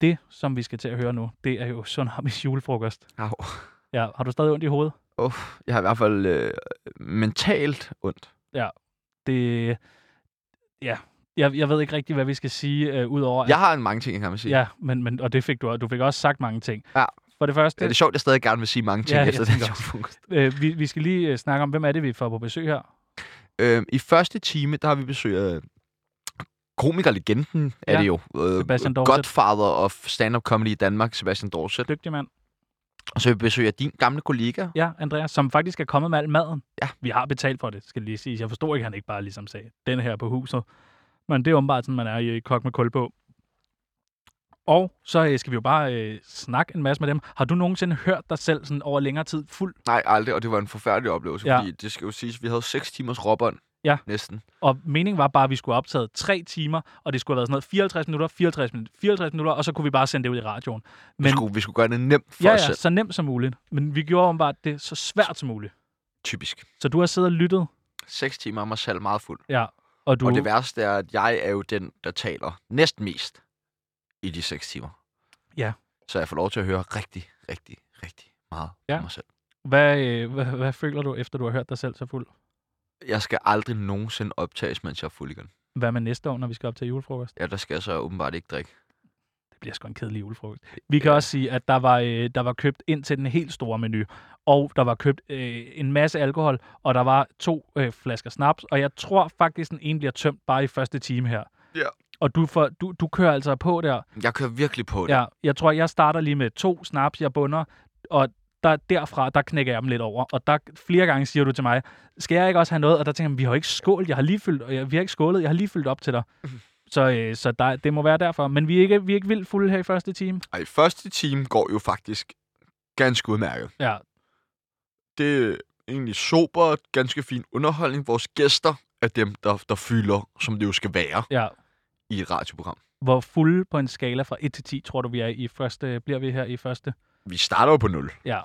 det, som vi skal til at høre nu, det er jo Tsunamis julefrokost. Au. Ja, har du stadig ondt i hovedet? Uff, jeg har i hvert fald øh, mentalt ondt. Det, ja, jeg, jeg ved ikke rigtig, hvad vi skal sige, øh, udover... at- Jeg har en mange ting, jeg gerne vil sige. Ja, men, men, og det fik du, og du fik også sagt mange ting. Ja. For det første, Det er det sjovt, at jeg stadig gerne vil sige mange ting Ja, ja, jeg efter den tænker julefrokost. øh, vi, vi skal lige øh, snakke om, hvem er det, vi får på besøg her? Øh, I første time, der har vi besøg af komikerlegenden, ja. Ja, er det jo. Øh, Sebastian Dorset. Godfather of stand-up comedy i Danmark, Sebastian Dorset. Dygtig mand. Og så har vi besøg af din gamle kollega. Ja, Andreas, som faktisk er kommet med al maden. Ja. Vi har betalt for det, skal lige sige. Jeg forstår ikke, at han ikke bare ligesom sagde, den her på huset. Men det er åbenbart sådan, man er i kok med kul på. Og så øh, skal vi jo bare øh, snakke en masse med dem. Har du nogensinde hørt dig selv sådan over længere tid fuld? Nej, aldrig, og det var en forfærdelig oplevelse, Ja. ja. fordi det skal jo siges, vi havde 6 timers råbånd. Ja. Næsten. Og meningen var bare, at vi skulle have optaget tre timer, og det skulle have været sådan noget 54 minutter, 54 minutter, 54 minutter, og så kunne vi bare sende det ud i radioen. Men... Vi, Men- skulle, vi skulle gøre det nemt for Ja, os ja, selv. så nemt som muligt. Men vi gjorde åbenbart det så svært som muligt. Typisk. Så du har siddet og lyttet, 6 timer er mig selv meget fuld. ja, og du... Og det værste er, at jeg er jo den, der taler næsten mest i de 6 timer. Ja. Så jeg får lov til at høre rigtig, rigtig, rigtig meget Ja. ja. mig selv. Hvad, øh, hvad, hvad føler du, efter du har hørt dig selv så fuld? Jeg skal aldrig nogensinde optages, mens jeg er fuld igen. Hvad med næste år, når vi skal op til julefrokost? Ja, der skal jeg så åbenbart ikke drikke. Det bliver sgu en kedelig julefrokost. Vi kan også sige, at der var, øh, der var købt ind til den helt store menu, og der var købt øh, en masse alkohol, og der var to øh, flasker snaps, og jeg tror faktisk, den ene bliver tømt bare i første time her. Ja. Og du, får, du, du kører altså på der. Jeg kører virkelig på det. Ja, jeg tror, jeg starter lige med to snaps, jeg bunder, og der, derfra, der knækker jeg dem lidt over. Og der flere gange siger du til mig, skal jeg ikke også have noget? Og der tænker jeg, vi har jo ikke skålet, jeg har lige fyldt, og jeg, vi har ikke skålet, jeg har lige fyldt op til dig. Så, øh, så der, det må være derfor. Men vi er ikke, vi er ikke vildt fulde her i første time. Ej, første time går jo faktisk ganske udmærket. Ja, Det er egentlig sober, ganske fin underholdning. Vores gæster er dem, der, der fylder, som det jo skal være ja. i et radioprogram. Hvor fulde på en skala fra 1 til 10, tror du, vi er i første, bliver vi her i første? Vi starter jo på 0, Ja,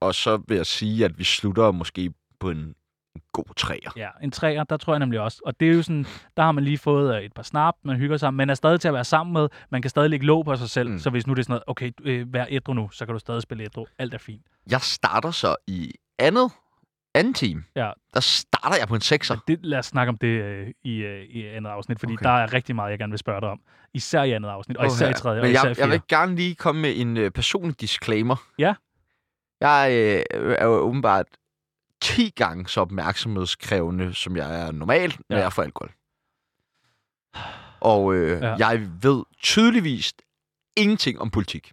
og så vil jeg sige, at vi slutter måske på en, en god træer. ja. En træer, der tror jeg nemlig også. Og det er jo sådan, der har man lige fået øh, et par snap, man hygger sig, man er stadig til at være sammen med, man kan stadig lægge låg på sig selv. Mm. Mm. Så hvis nu det er sådan noget, okay, øh, vær ædru nu, så kan du stadig spille ædru. Alt er fint. Jeg starter så i andet, anden time. Ja. Der starter jeg på en sekser. Det, lad os snakke om det øh, i, øh, i andet afsnit, fordi okay. Okay. der er rigtig meget, jeg gerne vil spørge dig om. Især i andet afsnit, og især i Åh, tredje, og Men især i jeg, jeg fjerde. vil gerne lige komme med en øh, personlig disclaimer. Ja. Jeg øh, er jo åbenbart 10 gange så opmærksomhedskrævende, som jeg er normalt, når Ja. jeg får alkohol. Og øh, Ja. ja. jeg ved tydeligvis ingenting om politik.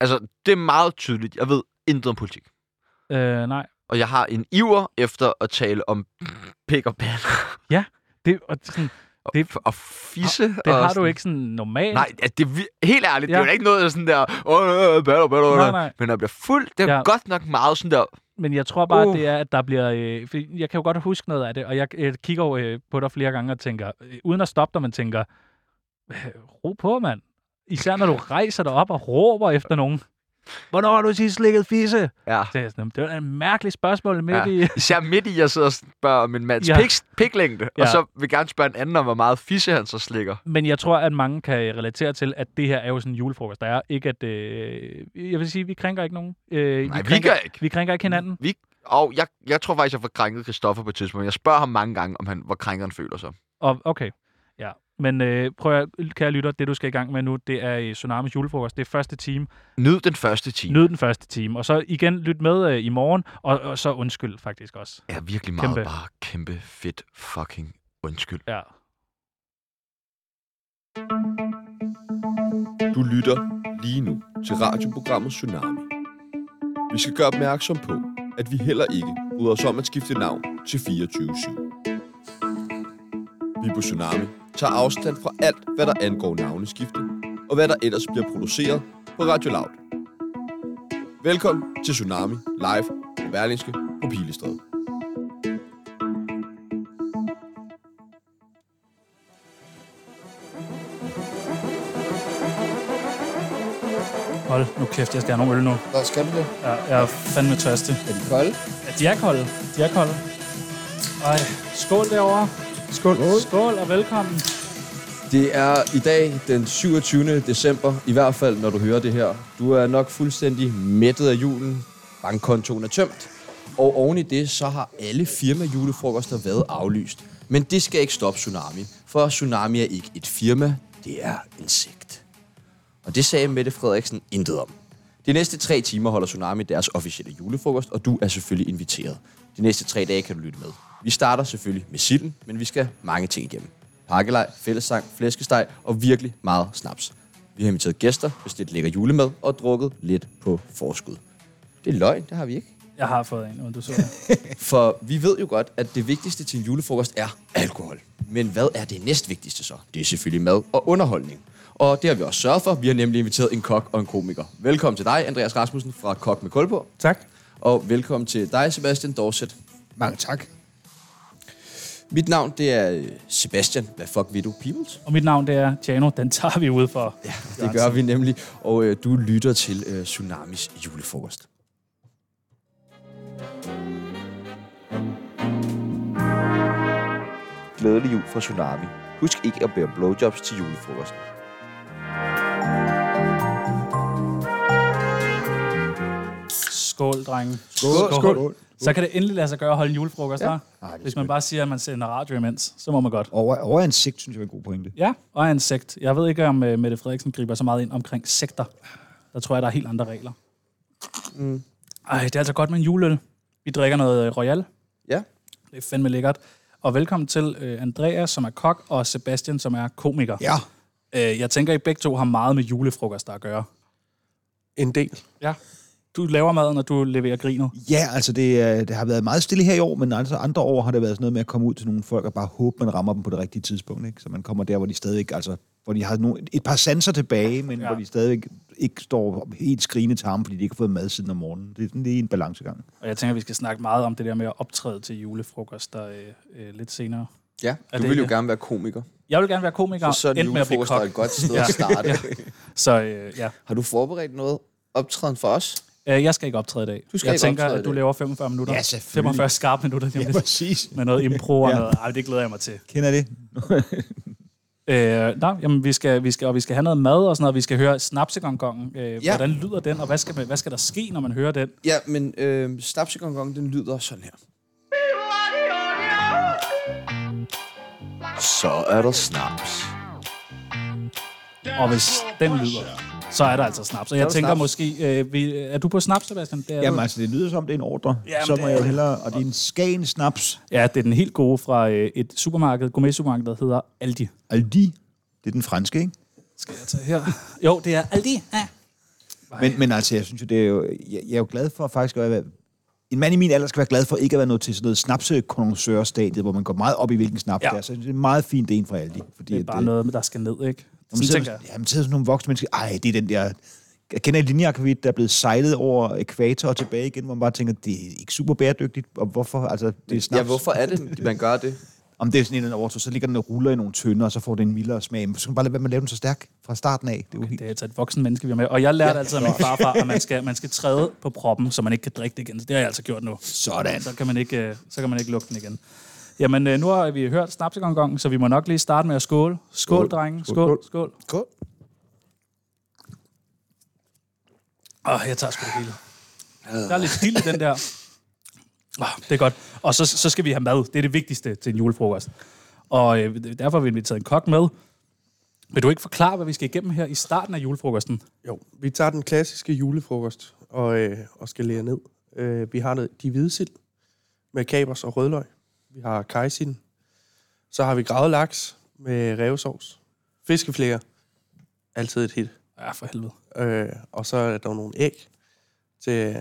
Altså, det er meget tydeligt. Jeg ved intet om politik. Øh, nej, Og jeg har en iver efter at tale om pik og pæl. det, og sådan, Og, Det- og fisse. det og har du sådan- ikke sådan normalt. Nej, ja, det er vir- helt ærligt, ja. det Ja. er jo ikke noget der er sådan der, åh, øh, nej, batter, batter, nej. Men når jeg bliver fuld, det er Ja. ja. godt nok meget sådan der, Men jeg tror bare, uh. Uh. det er, at der bliver... Øh, for jeg kan jo godt huske noget af det, og jeg øh, kigger jo øh, på dig flere gange og tænker, øh, uden at stoppe dig, men tænker, øh, ro på, mand. Især når du rejser dig op og råber efter nogen. Hvornår har du sidst slikket fisse? ja. Så er jeg sådan, Det var da en mærkelig spørgsmål midt Ja. ja. i... Især midt i, jeg sidder og spørger om en mands Ja. ja. pik, piklængde, ja. Ja. og så vil gerne spørge en anden om, hvor meget fisse han så slikker. Men jeg tror, at mange kan øh, relatere til, at det her er jo sådan en julefrokost. Der er ikke, at... Øh, jeg vil sige, vi krænker ikke nogen. Øh, Nej, vi krænker, gør ikke. Vi krænker ikke hinanden. Vi, og jeg, jeg tror faktisk, jeg får krænket Christoffer på et tidspunkt. Jeg spørger ham mange gange, om han, hvor krænkeren føler sig. Og, okay, ja. Men øh, prøv at, kære lytter, det du skal i gang med nu, det er øh, Tsunamis julefrokost. Det er første time. Nyd den første time. Nyd den første time, og så igen lyt med øh, i morgen, og, og så undskyld faktisk også. er virkelig meget Kæmpe. kæmpe. bare kæmpe fedt fucking undskyld. Ja. Du lytter lige nu til radioprogrammet Tsunami. Vi skal gøre opmærksom på, at vi heller ikke bryder os om at skifte navn til 24-7. Vi på Tsunami tager afstand fra alt, hvad der angår navneskifte, og hvad der ellers bliver produceret på Radio Loud. Velkommen til Tsunami Live på Berlingske på Pilestræde. Hold nu kæft, jeg skal have nogle øl nu. Nå, skal du det? Jeg, jeg er fandme tørstig. Er de kolde? Ja, de er kolde. De er kolde. Ej, skål derovre. Skål. Skål og velkommen. Det er i dag den 27. december, i hvert fald når du hører det her. Du er nok fuldstændig mættet af julen. Bankkontoen er tømt. Og oven i det, så har alle firma-julefrokoster været aflyst. Men det skal ikke stoppe Tsunami, for Tsunami er ikke et firma, det er en sekt. Og det sagde Mette Frederiksen intet om. De næste tre timer holder Tsunami deres officielle julefrokost, og du er selvfølgelig inviteret. De næste tre dage kan du lytte med. Vi starter selvfølgelig med silden, men vi skal mange ting igennem. Pakkelej, fællessang, flæskesteg og virkelig meget snaps. Vi har inviteret gæster, bestilt lækker julemad og drukket lidt på forskud. Det er løgn, det har vi ikke. Jeg har fået en, og du så det. For vi ved jo godt, at det vigtigste til en julefrokost er alkohol. Men hvad er det næstvigtigste så? Det er selvfølgelig mad og underholdning. Og det har vi også sørget for. Vi har nemlig inviteret en kok og en komiker. Velkommen til dig, Andreas Rasmussen fra Kok med Kulborg. Tak. Og velkommen til dig, Sebastian Dorset. Mange tak. Mit navn, det er øh, Sebastian. Hvad fuck ved du, Peoples? Og mit navn, det er Tjano. Den tager vi ud for. Ja, det gør vi nemlig. Og øh, du lytter til øh, Tsunamis julefrokost. Glædelig jul fra Tsunami. Husk ikke at bære om blowjobs til julefrokosten. Skål, drenge. Skål. Skål. Så kan det endelig lade sig gøre at holde en julefrokost ja. her. Ej, det er Hvis man skønt. bare siger, at man sender radio imens, så må man godt. Over, over en sigt, synes jeg er en god pointe. Ja, og er en sekt. Jeg ved ikke, om uh, Mette Frederiksen griber så meget ind omkring sekter. Der tror jeg, der er helt andre regler. Mm. Ej, det er altså godt med en juleøl. Vi drikker noget øh, Royal. Ja. Det er fandme lækkert. Og velkommen til uh, Andreas, som er kok, og Sebastian, som er komiker. Ja. Uh, jeg tænker, I begge to har meget med julefrokoster at gøre. En del. Ja. Du laver maden, og du leverer grinet. Ja, altså det, er- det har været meget stille her i år, men altså andre år har det været sådan noget med at komme ud til nogle folk og bare håbe, man rammer dem på det rigtige tidspunkt. Ikke? Så man kommer der, hvor de stadigvæk, altså, hvor de har nogle, et par sanser tilbage, men Ja. ja. hvor de stadigvæk ikke står helt skrigende tarme, fordi de ikke har fået mad siden om morgenen. Det er sådan lige en balancegang. Og jeg tænker, vi skal snakke meget om det der med at optræde til julefrokoster øh, øh, lidt senere. Ja, Er det du vil jo ikke- gerne være komiker. Jeg vil gerne være komiker, Så er endte med at blive julefrokost er kok. et godt sted Ja. at starte. Så øh, ja, Har du forberedt noget optræden for os? Øh, Jeg skal ikke optræde i dag. Du skal jeg ikke tænker, optræde i at du dag. laver 45 minutter. Ja, selvfølgelig. 45 skarpe minutter lige om lidt. præcis. Med noget impro og Ja. noget. Ej, det glæder jeg mig til. Kender det? Øh, nej, jamen, vi skal, vi skal, og vi skal have noget mad og sådan noget. Vi skal høre snapsegongongen. Øh, Ja. Hvordan lyder den, og hvad skal, man- hvad skal der ske, når man hører den? Ja, men øh, snapsegongong, den lyder sådan her. Så er der snaps. Og hvis den lyder, så er der altså snaps. Og jeg der tænker snaps. måske... Øh, vi, er du på snaps, Sebastian? Det er Jamen du. altså, det lyder som, det er en ordre. Jamen, Jamen, så det må er jeg jo det. hellere, og det er en skagen snaps. ja, det er den helt gode fra øh, et supermarked, gourmet-supermarked, der hedder Aldi. Aldi, det er den franske, ikke? Skal jeg tage her? Jo, det er Aldi. Ja. Men, men altså, jeg synes jo, det er jo, jeg, jeg er jo glad for faktisk at være, en mand i min alder skal være glad for ikke at være nået til sådan noget snapsekonnonsørstadiet, hvor man går meget op i, hvilken snaps Ja. ja. det er. Så jeg synes, det er meget fint, det er en fra Aldi. Fordi øh, Det er bare noget, der skal ned, ikke? Jamen, Sådan så, tænker jeg. jamen, så er der sådan nogle voksne mennesker, ej, det er den der, jeg kender en linjeakvavit, der er blevet sejlet over ækvator og tilbage igen, hvor man bare tænker, det er ikke super bæredygtigt, og hvorfor, altså, det er snaps. Ja, hvorfor er det, man gør det? Om det er sådan en eller anden overtog, så ligger den og ruller i nogle tønder, og så får den en mildere smag. Men så skal man bare lade være med at lave den så stærk fra starten af. Det er jo helt... Det er altså et voksen menneske, vi har med. Og jeg lærte ja, altid af min farfar, at man skal, man skal træde på proppen, så man ikke kan drikke det igen. Så det har jeg altså gjort nu. Sådan. Så kan man ikke, øh, så kan man ikke lukke den igen. Jamen, øh, nu har vi hørt snapsegongongen, så vi må nok lige starte med at skåle. Skål, skål drenge. Skål, skål. Skål. Åh, jeg tager sgu det hele. Der er lidt stille den der. Åh, det er godt. Og så, så skal vi have mad. Det er det vigtigste til en julefrokost. Og øh, derfor har vi inviteret en kok med. Vil du ikke forklare, hvad vi skal igennem her i starten af julefrokosten? Jo, vi tager den klassiske julefrokost og, øh, og skal lære ned. Øh, vi har noget, de hvide sild med kapers og rødløg. Vi har kajsild. Så har vi gravet laks med revsovs. Fiskeflæger. Altid et hit. Ja, for helvede. Øh, og så er der nogle æg til,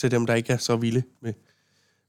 til dem, der ikke er så vilde med,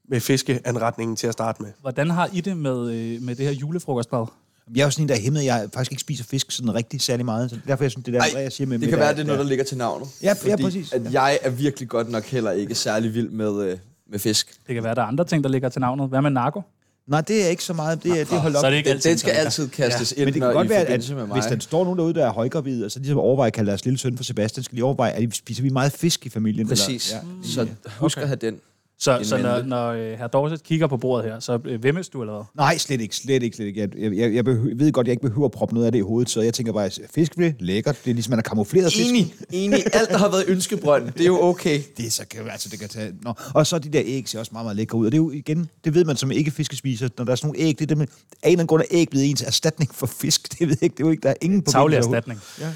med fiskeanretningen til at starte med. Hvordan har I det med, øh, med det her julefrokostmad? Jeg er jo sådan en, der er hæmmet. Jeg faktisk ikke spiser fisk sådan rigtig særlig meget. Så derfor jeg synes, det der, Ej, Ej, jeg siger med Det kan være, det er noget, der ligger til navnet. Ja, ja, præcis. At jeg er virkelig godt nok heller ikke særlig vild med, øh, med fisk. Det kan være, der er andre ting, der ligger til navnet. Hvad med narko? Nej, det er ikke så meget. Det er, det er holdt op. Så er det ikke Den, altid, den skal altid kastes ja, ind, Men det kan når, godt i være, at forbindelse med mig. hvis der står nogen derude, der er højgravid, og så ligesom overvejer at kalde deres lille søn for Sebastian, skal de overveje, at spiser vi meget fisk i familien? Præcis. Eller, ja. Så husk at have den. Så, En så når, vente. når øh, herr Dorset kigger på bordet her, så øh, vemmes du eller hvad? Nej, slet ikke, slet ikke, slet ikke. Jeg, jeg, jeg, jeg behøver, ved godt, jeg ikke behøver at proppe noget af det i hovedet, så jeg tænker bare, fiskefilé, lækkert. Det er ligesom, man har kamufleret fisk. Enig, enig. Alt, der har været ønskebrønd, det er jo okay. Det er så kan, altså det kan tage... Nå. Og så de der æg ser også meget, meget lækre ud. Og det er jo igen, det ved man som ikke fiskespiser, når der er sådan nogle æg, det er det med, af en eller anden grund er æg blevet ens erstatning for fisk. Det ved jeg ikke, det er jo ikke, der er ingen på Tavlig erstatning. Ja.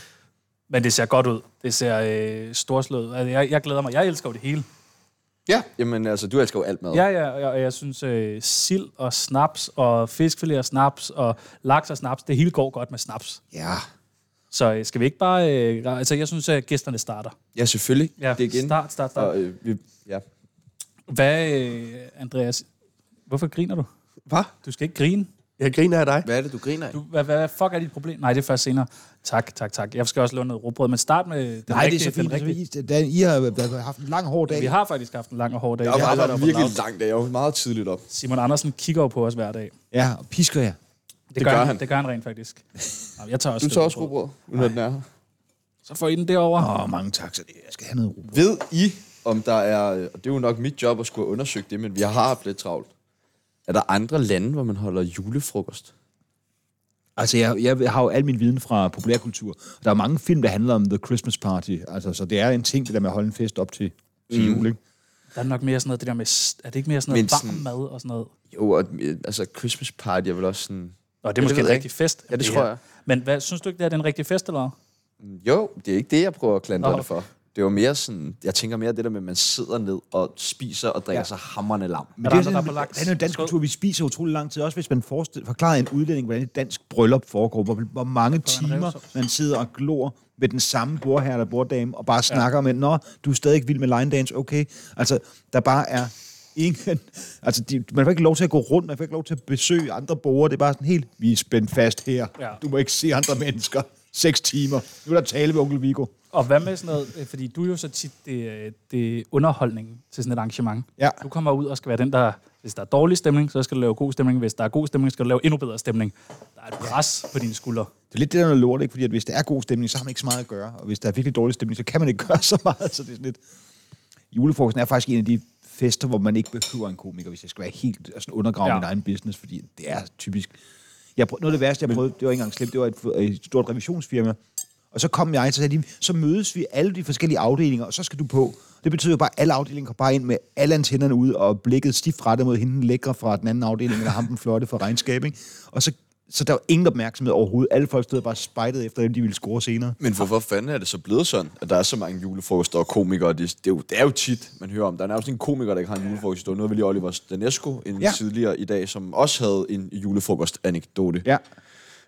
Men det ser godt ud. Det ser øh, storslået. Altså, jeg, jeg glæder mig. Jeg elsker jo det hele. Ja, jamen altså, du elsker jo alt mad. Ja, ja, og jeg, og jeg synes, øh, sild og snaps og fiskfilet og snaps og laks og snaps, det hele går godt med snaps. ja. Så øh, skal vi ikke bare... Øh, ra- altså, jeg synes, at gæsterne starter. Ja, selvfølgelig. Ja, det er igen. start, start, start. Og, øh, vi, ja. Hvad, øh, Andreas... Hvorfor griner du? Hvad? Du skal ikke grine. Jeg griner af dig. Hvad er det, du griner af? Du, hvad, hvad, hvad fuck er dit problem? Nej, det er først senere. Tak, tak, tak. Jeg skal også låne noget rugbrød, men start med den Nej, det er rigtige. så fint. den Det er så rigtige. fint. Da, I har, da, har haft en lang, hård dag. Vi har faktisk haft en lang og hård dag. Jeg Vi var arbejder der på virkelig lavet. langt, da jeg var meget tidligt op. Simon Andersen kigger jo på os hver dag. Ja, og pisker jer. Det, det gør, gør han. han. Det gør han rent faktisk. Nå, jeg tager også Du et tager også stykke rugbrød, når den er her. Så får I den derovre. Åh, oh, mange tak, så det- jeg skal have noget ro. Ved I, om der er, øh, og det er jo nok mit job at skulle undersøge det, men vi har haft lidt travlt. Er der andre lande, hvor man holder julefrokost? Altså, jeg, jeg har jo al min viden fra populærkultur. Der er mange film, der handler om The Christmas Party. Altså, så det er en ting, det der med at holde en fest op til, til mm. jul, ikke? Der er nok mere sådan noget, det der med, s- er det ikke mere sådan noget Men varm sådan- mad og sådan noget? Jo, og, øh, altså Christmas party er vel også sådan... Nå, det er det måske ved en jeg rigtig fest. Ja, det tror er- jeg. Men hvad, synes du ikke, det er den rigtige fest, eller hvad? Jo, det er ikke det, jeg prøver at Nå. klandre det for. Det var mere sådan, jeg tænker mere det der med, at man sidder ned og spiser og drikker ja. sig hammerne lam. Men det er, andre, der er sådan, på laks? det er jo dansk Skål. kultur, vi spiser utrolig lang tid. Også hvis man forestiller, forklarer en udlænding, hvordan et dansk bryllup foregår, hvor, hvor mange timer man sidder og glor med den samme bordherre eller borddame, og bare snakker om, at nå, du er stadig ikke vild med line dance, okay. Altså, der bare er ingen... Altså, de, man får ikke lov til at gå rundt, man får ikke lov til at besøge andre borgere. Det er bare sådan helt, vi er spændt fast her. Ja. Ja. Du må ikke se andre mennesker. Seks timer. Nu er der tale med onkel Vigo. Og hvad med sådan noget, øh, fordi du er jo så tit det, øh, det er underholdning til sådan et arrangement. Ja. Du kommer ud og skal være den, der, hvis der er dårlig stemning, så skal du lave god stemning. Hvis der er god stemning, skal du lave endnu bedre stemning. Der er et pres på dine skuldre. Det er lidt det der noget lort, ikke? Fordi at hvis der er god stemning, så har man ikke så meget at gøre. Og hvis der er virkelig dårlig stemning, så kan man ikke gøre så meget. Så det er sådan lidt... Julefrokosten er faktisk en af de fester, hvor man ikke behøver en komiker, hvis jeg skal være helt altså undergrave Ja. ja. min egen business, fordi det er typisk... Jeg prøv, noget af det værste, jeg prøvede, det var ikke engang slemt, det var et, et stort revisionsfirma. Og så kom jeg, så sagde de, så mødes vi alle de forskellige afdelinger, og så skal du på. Det betyder jo bare, at alle afdelinger kom bare ind med alle antennerne ud, og blikket stift rettet mod hende den lækre fra den anden afdeling, eller ham den flotte fra regnskab, ikke? Og så, så der var ingen opmærksomhed overhovedet. Alle folk stod og bare spejtede efter dem, de ville score senere. Men hvorfor fanden er det så blevet sådan, at der er så mange julefrokoster og komikere? Det, det, er, jo, det er jo tit, man hører om. Der er nærmest en komiker, der ikke har en julefrokost. Det var noget ved lige Oliver Danesco en Ja. ja. tidligere i dag, som også havde en julefrokost-anekdote. Ja.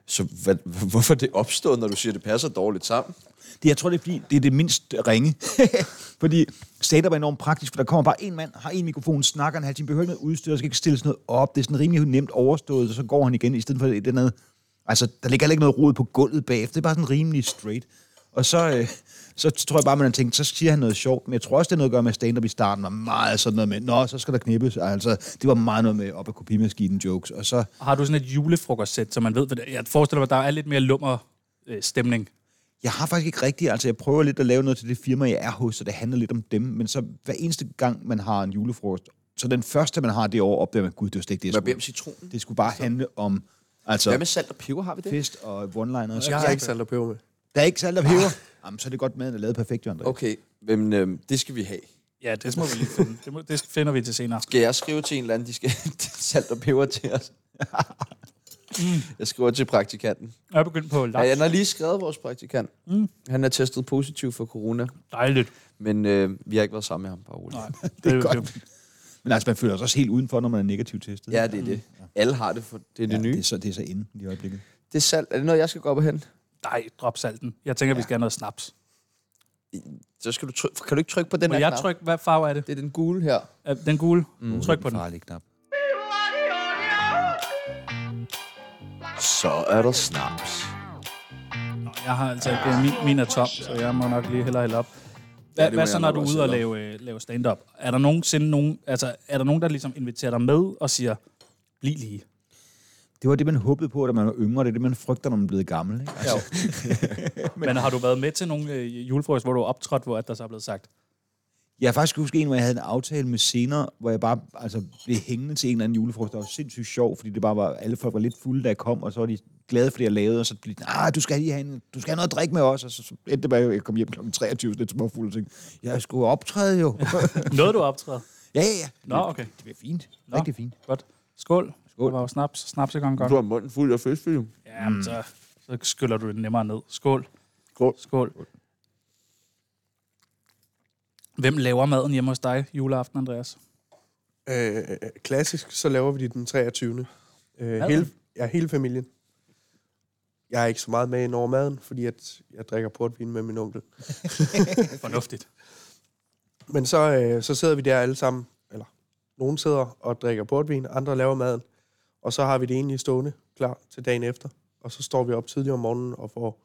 Så hvad, hvorfor er det opstået, når du siger, at det passer dårligt sammen? Det, jeg tror, det er, fordi, det er det mindst ringe. fordi stand-up er enormt praktisk, for der kommer bare en mand, har en mikrofon, snakker en halv time, behøver ikke noget udstyr, der skal ikke stilles noget op. Det er sådan rimelig nemt overstået, og så går han igen, i stedet for det andet. Altså, der ligger heller ikke noget rod på gulvet bagefter. Det er bare sådan rimelig straight. Og så, øh, så tror jeg bare, man har tænkt, så siger han noget sjovt. Men jeg tror også, det er noget at gøre med at stand-up i starten. var meget sådan noget med, nå, så skal der knippes. Altså, det var meget noget med op ad kopimaskinen jokes. Og så, Har du sådan et julefrokostsæt, så man ved, hvad det- jeg forestiller mig, at der er lidt mere lummer øh, stemning. Jeg har faktisk ikke rigtigt, altså jeg prøver lidt at lave noget til det firma, jeg er hos, så det handler lidt om dem, men så hver eneste gang, man har en julefrokost, så den første, man har det år, opdager man, gud, det var slet ikke det, jeg Hvad beder om skulle. citronen? Det skulle bare handle om, Hvad altså, med salt og peber, har vi det? fest og one-liner. Så Jeg har ikke salt og peber med. Der er ikke salt og peber. Jamen, så er det godt, maden er lavet perfekt, Jørgen. Okay. Okay, men øhm, det skal vi have. Ja, det må vi lige finde. Det, må, det finder vi til senere. Skal jeg skrive til en eller anden, de skal hente salt og peber til os? jeg skriver til praktikanten. Jeg er begyndt på laks. Ja, han har lige skrevet vores praktikant. Mm. Han er testet positiv for corona, Dejligt. men øh, vi har ikke været sammen med ham, bare roligt. Nej, Det er godt. Men altså, man føler sig også helt udenfor, når man er negativt testet. Ja, det er det. Mm. Alle har det, for det er det ja, nye. Det er, så, det er så inde i øjeblikket. Det er salt. Er det noget, jeg skal gå op og hente? Nej, drop salten. Jeg tænker, ja. vi skal have noget snaps. Så skal du trykke, kan du ikke trykke på den Må her jeg knap? trykke, hvad farve er det? Det er den gule her. Er Den gule? Mm. Tryk på den. Farlig knap. Så er der snaps. Nå, jeg har altså ikke, min, min er tom, så jeg må nok lige hellere hælde op. Hvad, ja, det må hvad så, jeg når nok du er også ude og hælde lave, øh, lave stand-up? Er der nogensinde nogen, altså, er der nogen, der ligesom inviterer dig med og siger, bliv lige? Det var det, man håbede på, da man var yngre. Det er det, man frygter, når man er blevet gammel. Ikke? Altså, Men har du været med til nogle øh, julefrokost, hvor du er optrådt, hvor at der så er blevet sagt, Jeg kan faktisk huske en, hvor jeg havde en aftale med senere, hvor jeg bare altså, blev hængende til en eller anden julefrokost. Det var sindssygt sjov, fordi det bare var, alle folk var lidt fulde, da jeg kom, og så var de glade for det, jeg lavede, og så blev de, ah, du skal lige have, en, du skal have noget at drikke med os, og så, så endte det bare, at jeg kom hjem kl. 23, sådan lidt småfuld, og tænkte, jeg skulle optræde jo. ja, Noget du optræder. ja, ja. Nå, okay. Det bliver fint. Rigtig fint. Godt. Skål. Skål. Skål. Det var jo snaps. Snaps er gang godt. Du har munden fuld af fødselsfilm. Ja, men så, så skyller du det nemmere ned. Skål. Skål. Skål. Hvem laver maden hjemme hos dig juleaften, Andreas? Øh, klassisk, så laver vi det den 23. Øh, det? hele, ja, hele familien. Jeg er ikke så meget med ind over maden, fordi at jeg drikker portvin med min onkel. Fornuftigt. Men så, øh, så sidder vi der alle sammen, eller nogen sidder og drikker portvin, andre laver maden, og så har vi det egentlig stående klar til dagen efter. Og så står vi op tidligt om morgenen og får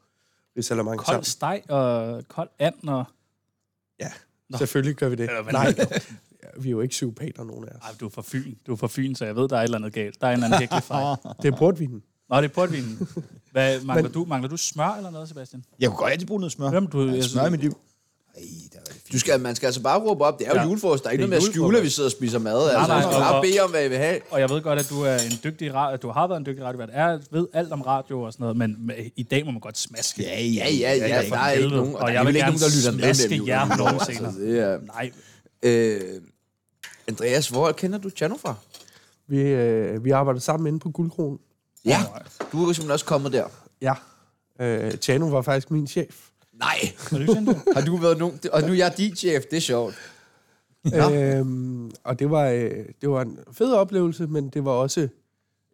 risalamande Kold sammen. steg og kold and og... Nå. Selvfølgelig gør vi det. Eller hvad? Nej, ja, vi er jo ikke psykopater, nogen af os. Ej, du er fra Fyn. Du er fra Fyn, så jeg ved, der er et eller andet galt. Der er en eller anden hækkelig fejl. Det er portvinen. Nå, det er portvinen. Hvad, mangler, du, mangler du smør eller noget, Sebastian? Jeg kunne godt altid bruge noget smør. Jamen, du- jeg jeg smør i synes- mit liv. Ej, der var det fint. Du skal, man skal altså bare råbe op. Det er jo Ja. ja. julefrokost. Der er ikke Det er noget med at skjule, julefrokost. at vi sidder og spiser mad. nej, Altså, man skal og- bare og- bede om, hvad I vil have. Og jeg ved godt, at du er en dygtig radio, du har været en dygtig radiovært, er, ved alt om radio og sådan noget, men med- i dag må man godt smaske. Ja, Ja, ja, ja. for Der er ikke helvede. nogen, Og og der jeg er vil vel ikke gerne nogen, der lytter med smaske nemlig, jer jo. Nå, nogensinde. altså, det er- Nej, Øh, Andreas, hvor kender du Tjerno fra? Vi, øh, vi arbejder sammen inde på Guldkronen. Ja, du er jo simpelthen også kommet der. Ja. Øh, Tjano var faktisk min chef. Nej, har du ikke sådan det? har du været nogen? Og nu er jeg din chef, det er sjovt. Øhm, og det var, øh, det var en fed oplevelse, men det var også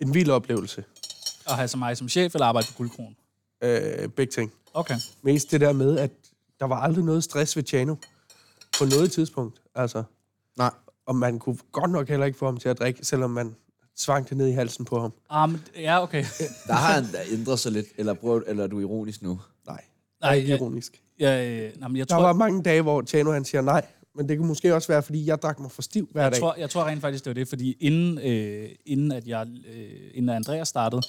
en vild oplevelse. At have så mig som chef eller arbejde på guldkronen? Øh, begge ting. Okay. Mest det der med, at der var aldrig noget stress ved Tjano. På noget tidspunkt, altså. Nej. Og man kunne godt nok heller ikke få ham til at drikke, selvom man svang det ned i halsen på ham. Ah, men, ja, okay. Der har han da ændret sig lidt. Eller, prøv, eller er du ironisk nu? Nej, Nej, jeg, ironisk. jeg, øh, nej, men jeg, Der tror, var mange dage, hvor Tjano han siger nej, men det kunne måske også være, fordi jeg drak mig for stiv hver jeg, dag. tror, jeg tror rent faktisk, det var det, fordi inden, øh, inden, at jeg, øh, inden Andreas startede,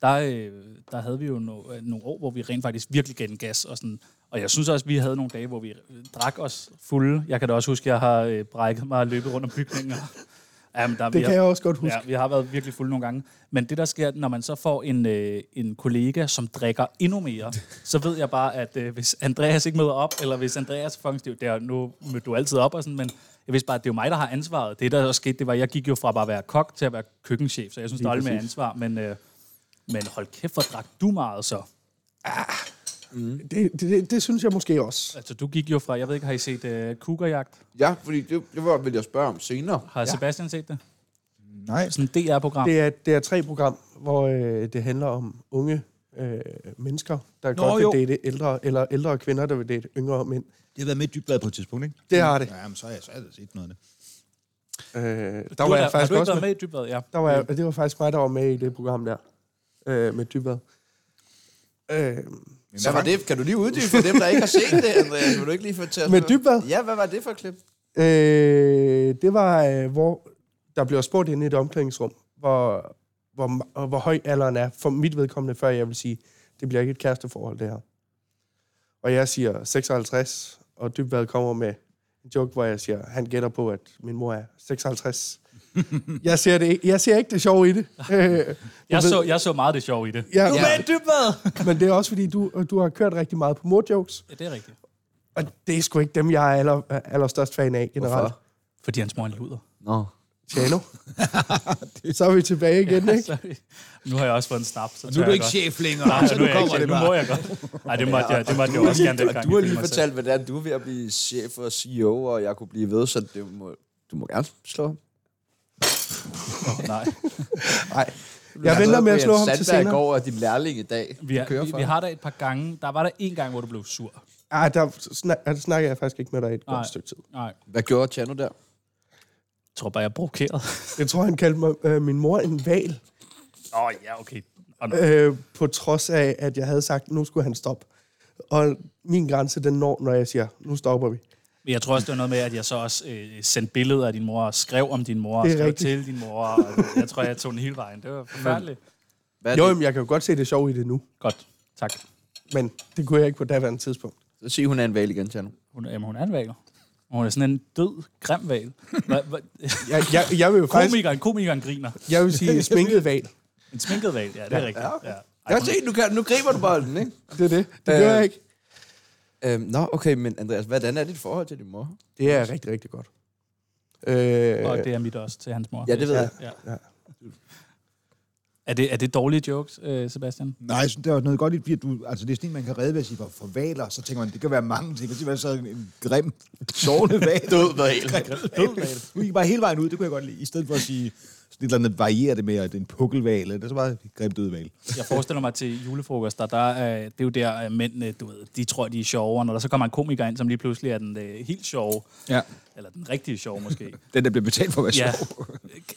der, øh, der havde vi jo no, øh, nogle år, hvor vi rent faktisk virkelig gav den gas. Og, sådan, og jeg synes også, vi havde nogle dage, hvor vi øh, drak os fulde. Jeg kan da også huske, at jeg har øh, brækket mig og løbet rundt om bygninger. Jamen, der, vi Det har- kan jeg også godt huske. Ja, vi har været virkelig fulde nogle gange. Men det, der sker, når man så får en, øh, en kollega, som drikker endnu mere, så ved jeg bare, at øh, hvis Andreas ikke møder op, eller hvis Andreas er fucking stiv, der, nu mødte du altid op og sådan, men jeg vidste bare, at det er jo mig, der har ansvaret. Det, der også skete, det var, at jeg gik jo fra bare at være kok til at være køkkenchef, så jeg synes, der er lidt mere ansvar. Men, øh, men hold kæft, hvor drak du meget så. Det, det, det, det synes jeg måske også. Altså, du gik jo fra, jeg ved ikke, har I set øh, Cougarjagt? Ja, fordi det, det var, vil jeg spørge om senere. Har ja. Sebastian set det? Nej. Sådan et DR-program. Det er, det er tre program, hvor øh, det handler om unge øh, mennesker, der Nå, Nå, godt vil jo. date ældre, eller ældre kvinder, der vil date yngre mænd. Det har været med i Dybblad på et tidspunkt, ikke? Det har det. Ja, men så har jeg, så har jeg da set noget af det. Øh, Du der er var der- jeg har faktisk du ikke også været med. med i Dybvad? Ja. Der var jeg, det var faktisk mig, der var med i det program der, øh, med Dybvad. Øh, Hvad var det? Kan du lige uddybe for dem, der ikke har set det, Andreas? Vil du ikke lige fortælle Med os- Dybvad? Ja, hvad var det for et klip? øh, det var, øh, hvor der blev spurgt inde i et omklædningsrum, hvor, hvor, ma- hvor høj alderen er, for mit vedkommende, før jeg vil sige, det bliver ikke et kæresteforhold, det her. Og jeg siger 56, og Dybvad kommer med en joke, hvor jeg siger, han gætter på, at min mor er 56. jeg, ser det ikke, jeg ser ikke det sjove i det. Øh, Jeg, ved- så, jeg så meget det sjove i det. Ja, Du er med i Dybvad! men det er også, fordi du, du har kørt rigtig meget på mor-jokes, Ja, det er rigtigt. og det er sgu ikke dem, jeg er aller, allerstørst fan af generelt. Hvorfor? Fordi hans mor er en luder. Nå. Tjano. så er vi tilbage igen, ikke? Sorry. Nu har jeg også fået en snap, så Nu er tør du jeg ikke godt. chef længere, Nej, så nu, nu er jeg kommer ikke, det nu bare. må jeg godt. Nej, det måtte jeg, det måtte jeg jo også gerne dengang. Og du har jeg lige følte mig selv. fortalt, hvordan du er ved at blive chef og CEO, og jeg kunne blive ved, så det må, du må gerne slå ham. Åh, Nej, Nej. Jeg venter med at slå ham til i senere. går og din lærling i dag. vi, Du kører er, vi, for vi ham. har der et par gange. Der var der en gang, hvor du blev sur. Ej, der, snak, der snakker jeg faktisk ikke med dig i et Nej. godt stykke tid. Nej, Hvad gjorde Tjerno der? jeg tror bare, jeg er provokeret. Jeg tror, han kaldte mig, øh, min mor en val, Åh, oh, ja, okay. Og nu- øh, på trods af, at jeg havde sagt, nu skulle han stoppe. Og min grænse, den når, når jeg siger, nu stopper vi. Men jeg tror også, det var noget med, at jeg så også øh, sendte billeder af din mor, og skrev om din mor, og Det er skrev rigtigt. til din mor. Og jeg tror, jeg tog den hele vejen. Det var forfærdeligt. Hvad er Jo, det? jamen, jeg kan jo godt se det sjove i det nu, Godt, tak. men det kunne jeg ikke på daværende tidspunkt. Så siger hun er en valg igen, Tjerno. Hun, jamen, hun er en vager. Åh, det er sådan en død, grim val. Hva, hva, Jeg, jeg, jeg vil jo faktisk... komikeren, komikeren griner. Jeg vil sige sminket val. En sminket val, ja, det er rigtigt. Ja, okay. ja. Jeg kan se, nu, kan, nu griber du bare den, ikke? Det er det. Det gør jeg ikke. Øhm, nå, okay, men Andreas, hvordan er dit forhold til din mor? Det er rigtig, rigtig godt. Øh, Og det er mit også til hans mor. Ja, det ved jeg. Ja. Ja. Er, det, er det dårlige jokes, øh, Sebastian? Nej, jeg synes, der er noget godt i, fordi du, altså, det er sådan en, man kan redde ved at sige, for, for valer, så tænker man, det kan være mange ting. Det kan være sådan en grim, sovende val. Død var helt. Død val. Du gik bare hele vejen ud, det kunne jeg godt lide. I stedet for at sige, sådan et eller andet varierer det med, at det er en pukkelval, det er så bare grim død val. Jeg forestiller mig til julefrokost, der, der øh, det er jo der, øh, mænd, øh, du ved, de tror, de er sjove, og når der så kommer en komiker ind, som lige pludselig er den øh, helt sjove, Ja. eller den rigtige sjove måske. Den, der bliver betalt for at være ja. sjov.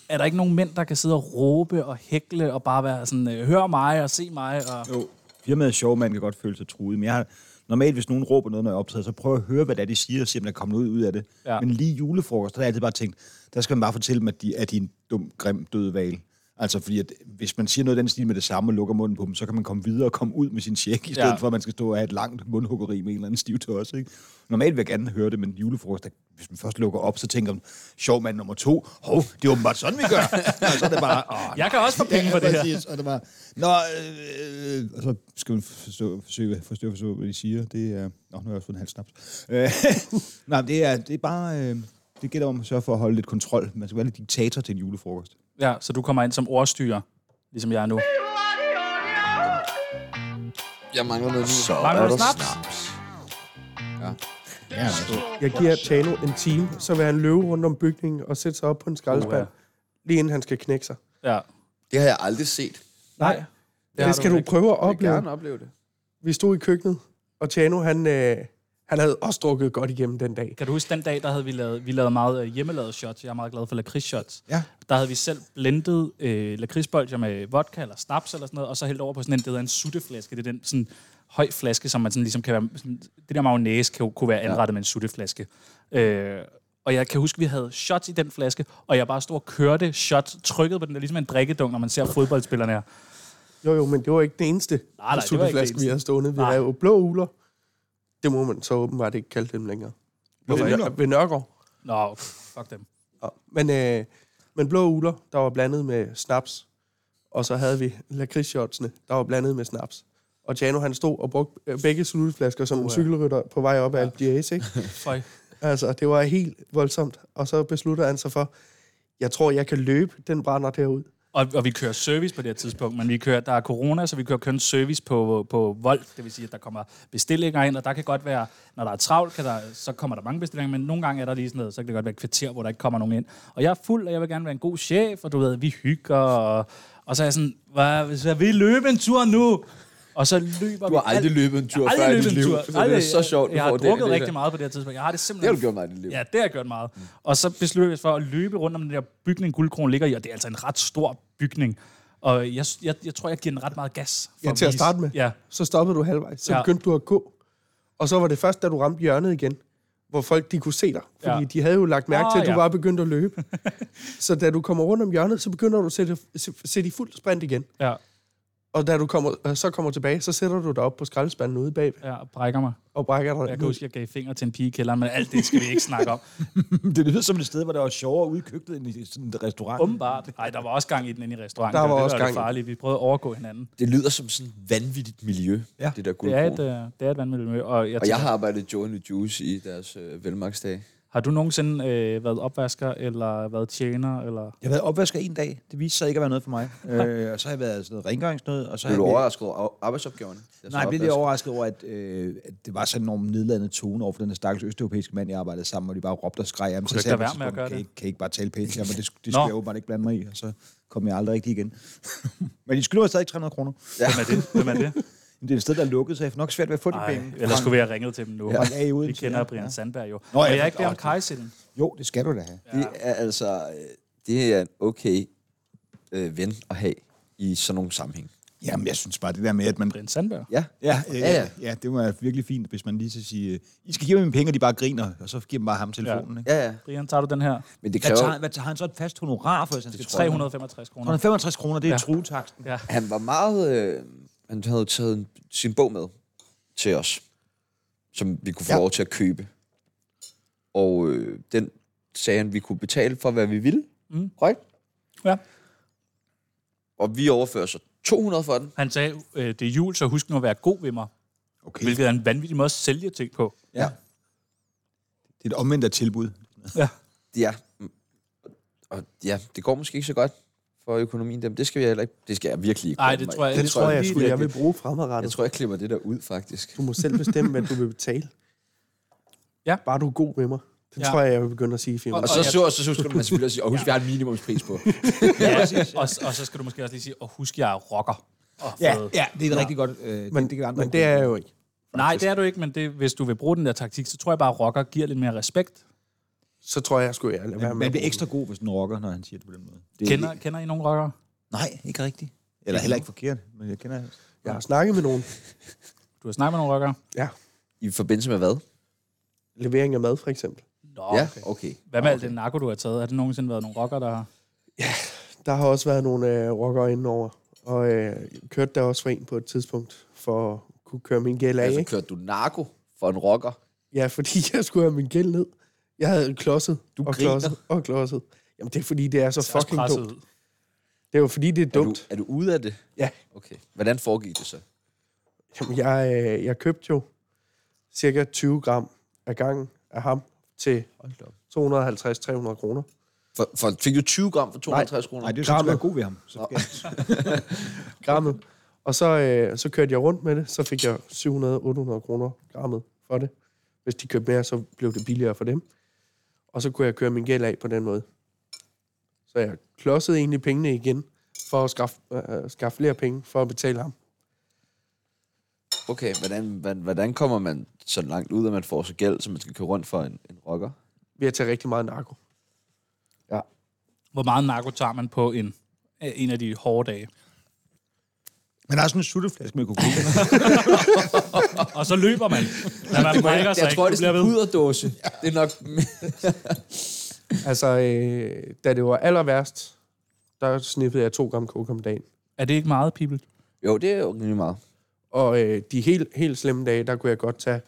Er der ikke nogen mænd, der kan sidde og råbe og hækle og bare være sådan, øh, hør mig og se mig? Og... Jo. Firmaet sjov, man kan godt føle sig truet, men jeg har, normalt, hvis nogen råber noget, når jeg optræder, så prøver jeg at høre, hvad det er, de siger, og se, om der kommer noget ud af det. Ja. Ja. Men lige julefrokost, der har jeg altid bare tænkt, der skal man bare fortælle dem, at de, at de er en dum, grim, død val. Altså, fordi at, hvis man siger noget i den stil med det samme og lukker munden på dem, så kan man komme videre og komme ud med sin check, i stedet Ja. ja. for at man skal stå og have et langt mundhuggeri med en eller anden stiv tosse, ikke? Normalt vil jeg gerne høre det, men julefrokost, der, hvis man først lukker op, så tænker man, sjov mand nummer to, hov, det er åbenbart sådan, vi gør. og så er det bare, åh, Jeg kan også få penge for det her. præcis. Og det var, nå, øh, øh, og så skal man forstå, forsøge, forstå, forstå, hvad de siger. Det er, nå, nu har jeg også fået en halv snaps. Øh, nej, men det er, det er bare, øh, det gælder om at sørge for at holde lidt kontrol. Man skal være lidt diktator til en julefrokost. Ja, så du kommer ind som ordstyrer, ligesom jeg er nu. Jeg mangler noget nu. Så Mangler er du der snaps? Ja, jeg giver Tano en time, så vil han løbe rundt om bygningen og sætte sig op på en skraldespand, Uha. lige inden han skal knække sig. Ja. Det har jeg aldrig set. Nej. Det, det skal du prøve at Jeg vil opleve. gerne opleve det. Vi stod i køkkenet, og Tjano, han, øh, han havde også drukket godt igennem den dag. Kan du huske den dag, der havde vi lavet, vi lavede meget øh, hjemmelavede shots. Jeg er meget glad for lakridsshots. Ja. Der havde vi selv blendet øh, lakridsbolger med vodka eller snaps eller sådan noget, og så hældt over på sådan en, det hedder en sutteflaske. Det er den sådan høj flaske, som man sådan ligesom kan være, sådan, det der mayonnaise kan, jo- kunne være anrettet ja. med en sutteflaske. Øh, og jeg kan huske, vi havde shots i den flaske, og jeg bare stod og kørte shots, trykkede på den der, ligesom en drikkedunk, når man ser fodboldspillerne her. Jo, jo, men det var ikke det eneste nej, det var ikke det sutteflaske, eneste. vi havde stående. Vi Nej. havde jo blå uler. Det må man så åbenbart ikke kalde dem længere. Hvorfor ved, uler? Nør- ved Nørgaard. Nå, fuck dem. Ja. Men, øh, men blå uler, der var blandet med snaps. Og så havde vi lakridsshotsene, der var blandet med snaps. Og Tjano, han stod og brugte øh, begge sutteflasker som en cykelrytter på vej op ad Alpe d'Huez, ikke? Føj. Altså, det var helt voldsomt. Og så besluttede han sig for, jeg tror, jeg kan løbe den brænder derud. Og, og vi kører service på det her tidspunkt, men vi kører, der er corona, så vi kører kun service på, på Volt. Det vil sige, at der kommer bestillinger ind, og der kan godt være, når der er travlt, kan der, så kommer der mange bestillinger, men nogle gange er der lige sådan noget, så kan det godt være et kvarter, hvor der ikke kommer nogen ind. Og jeg er fuld, og jeg vil gerne være en god chef, og du ved, vi hygger, og, og så er jeg sådan, hvad, hvis jeg vil løbe en tur nu? Og så løber Du har vi aldrig alt- løbet en tur Jeg har før i aldrig løbet dit en liv. tur. Så det er Aldrig. så sjovt, du Jeg har får den drukket idé rigtig der. meget på det her tidspunkt. Jeg har det simpelthen Det har du gjort mig i dit liv. Mm. Ja, det har jeg gjort meget. Og så besluttede vi os for at løbe rundt om den der bygning, Guldkron ligger i, og det er altså en ret stor bygning. Og jeg, jeg, jeg tror, jeg giver den ret meget gas. For Ja, til at vise- starte med. Ja, Så stoppede du halvvejs, så Ja. ja. begyndte du at gå. Og så var det først, da du ramte hjørnet igen, hvor folk de kunne se dig. Fordi Ja. ja. de havde jo lagt mærke Åh, til, at du ja. var begyndt at løbe. så da du kommer rundt om hjørnet, så begynder du at sætte, sætte i fuld sprint igen. ja, Og da du kommer, øh, så kommer tilbage, så sætter du dig op på skraldespanden ude bag ja, og brækker mig. og brækker dig. Jeg ned. kan huske, jeg gav fingre til en pige i kælderen, men alt det skal vi ikke snakke om. det lyder som et sted, hvor der var sjovere ude i køkkenet end i sådan et restaurant. Åbenbart. Nej, der var også gang i den inde i restauranten. Der og var det også det gang i den. farlige. Vi prøvede at overgå hinanden. Det lyder som sådan et vanvittigt miljø, Ja. det der Det er guldkorn. et, øh, det er et vandmiljø. Og, jeg Og tænker, jeg har arbejdet i Joe and the Juice i deres øh, velmagsdag. har du nogensinde øh, været opvasker, eller været tjener, eller... Jeg har været opvasker en dag. Det viste sig ikke at være noget for mig. øh, og så har jeg været sådan noget rengøringsnød. Og så Blev har jeg du været- overrasket over arbejdsopgaverne? Jeg Nej, jeg blev lidt overrasket over, at, øh, at det var sådan en enormt nedladende tone over for den her stakkels østeuropæiske mand, jeg arbejdede sammen, og de bare råbte og skreg ham. du ikke lade være med at gøre kan, det? I ikke- kan I ikke bare tale pænt her, men det, sk- det Nå. skulle jeg åbenbart ikke blande mig i, og så kom jeg aldrig rigtig igen. men de skylder mig stadig 300 kroner. Hvem er det? Hvem er det? Men det er et sted, der er lukket, så jeg får nok svært ved at få de Ej, penge. ellers skulle vi have ringet til dem nu. Ja. Ja, i Vi Odense, kender ja, Brian ja. Sandberg jo. Nå, Og ja, jeg er ikke det- der om åh, det- kajsilden. Jo, det skal du da have. Det er altså, øh, det er en okay øh, ven at have i sådan nogle sammenhæng. Jamen, jeg synes bare, det der med, at man... Brian Sandberg. Ja. Ja, øh, Ja, ja. ja, ja, det var virkelig fint, hvis man lige så siger, I skal give mig mine penge, og de bare griner, og så giver man bare ham telefonen. Ja. Ikke? Ja, ja. Brian, tager du den her? Men det Hvad, kræver... tager, hvad tager han så et fast honorar for, hvis han skal 365 kroner. 365 kroner, det er ja. truetaksten. Ja. Han var meget... Øh, han havde taget en, sin bog med til os, som vi kunne få ja. Ja. lov til at købe. og øh, den sagde han, vi kunne betale for, hvad vi ville. Mm. Korrekt? Ja. Og vi overfører så 200 for den. Han sagde, øh, det er jul, så husk nu at være god ved mig. Okay. Hvilket er en vanvittig måde at sælge ting på. Ja. Det er et omvendt af tilbud. Ja. mm, Og ja, det går måske ikke så godt for økonomien dem. Det skal jeg heller ikke. Det skal jeg virkelig ikke. Nej, blande det mig tror i. jeg Det, ikke. tror jeg, lige, sgu, at jeg det- vil bruge Jeg fremadrettet. tror, jeg klipper det der ud, faktisk. Du må selv bestemme, hvad du vil betale. Ja. Bare du er god med mig. Det Ja. tror jeg, jeg vil begynde at sige i firmaet. Og Og så, jeg- så, og så, så skal man selvfølgelig også sige, og husk, vi har en minimumspris på. Ja, og, og så skal du måske også lige sige, og husk, jeg er rocker. Og fed. ja det er et ja. rigtig godt... Øh, Men, kan andre men det er jeg jo ikke. Nej, det er du ikke, men det, hvis du vil bruge den der taktik, så tror jeg bare, at rocker giver lidt mere respekt. Så tror jeg, jeg skulle jeg lade Man, være man med at bliver bruge ekstra god, hvis den rocker, når han siger det på den måde. Det, Kender, kender I nogen rockere? Nej, ikke rigtigt. Eller heller ikke forkert, men jeg kender... den. Jeg har snakket med nogen. Du har snakket med nogle rockere? Ja. I forbindelse med hvad? Levering af mad, for eksempel. Nå, Ja, Ah, okay. okay. Hvad med alt det narko, du har taget? Har det nogensinde været nogle rockere, der har... Der har også været nogle øh, rockere indenover. Og øh, kørte der også for en på et tidspunkt, for at kunne køre min gæld af. Altså, Ikke? kørte du narko for en rocker? Ja, fordi jeg skulle have min gæld ned. Jeg havde klodset Du og griner. klodset og klodset. Jamen, det er fordi, det er så Det ser også fucking presset dumt. ud. Det er jo fordi, det er Er du, dumt. er du ude af det? Ja. Okay. Hvordan foregik det så? Jamen, jeg, øh, jeg købte jo cirka 20 gram af gangen af ham til 250-300 kroner. For, for, fik du 20 gram for 250 kroner? Nej, det er Krammer. sådan, du er god ved ham. Så Nå. skal Grammet. Og så, øh, så kørte jeg rundt med det, så fik jeg 700-800 kroner grammet for det. Hvis de købte mere, så blev det billigere for dem. Og så kunne jeg køre min gæld af på den måde. Så jeg klodsede egentlig pengene igen, for at skaffe, øh, skaffe flere penge for at betale ham. Okay, hvordan, hvordan, hvordan kommer man så langt ud, at man får så gæld, så man skal køre rundt for en, en rocker? Ved at tage rigtig meget narko. Hvor meget narko tager man på en, øh, en af de hårde dage? Man har sådan en sutteflaske med kokain. Og så løber man. Når man brækker sig jeg tror, det er ikke, du sådan bliver en ved. puderdåse. Det er nok... Altså, øh, da det var aller værst, der sniffede jeg to gram coke om dagen. Er det ikke meget, people? jo, det er jo rimelig meget. Og øh, de helt, helt slemme dage, der kunne jeg godt tage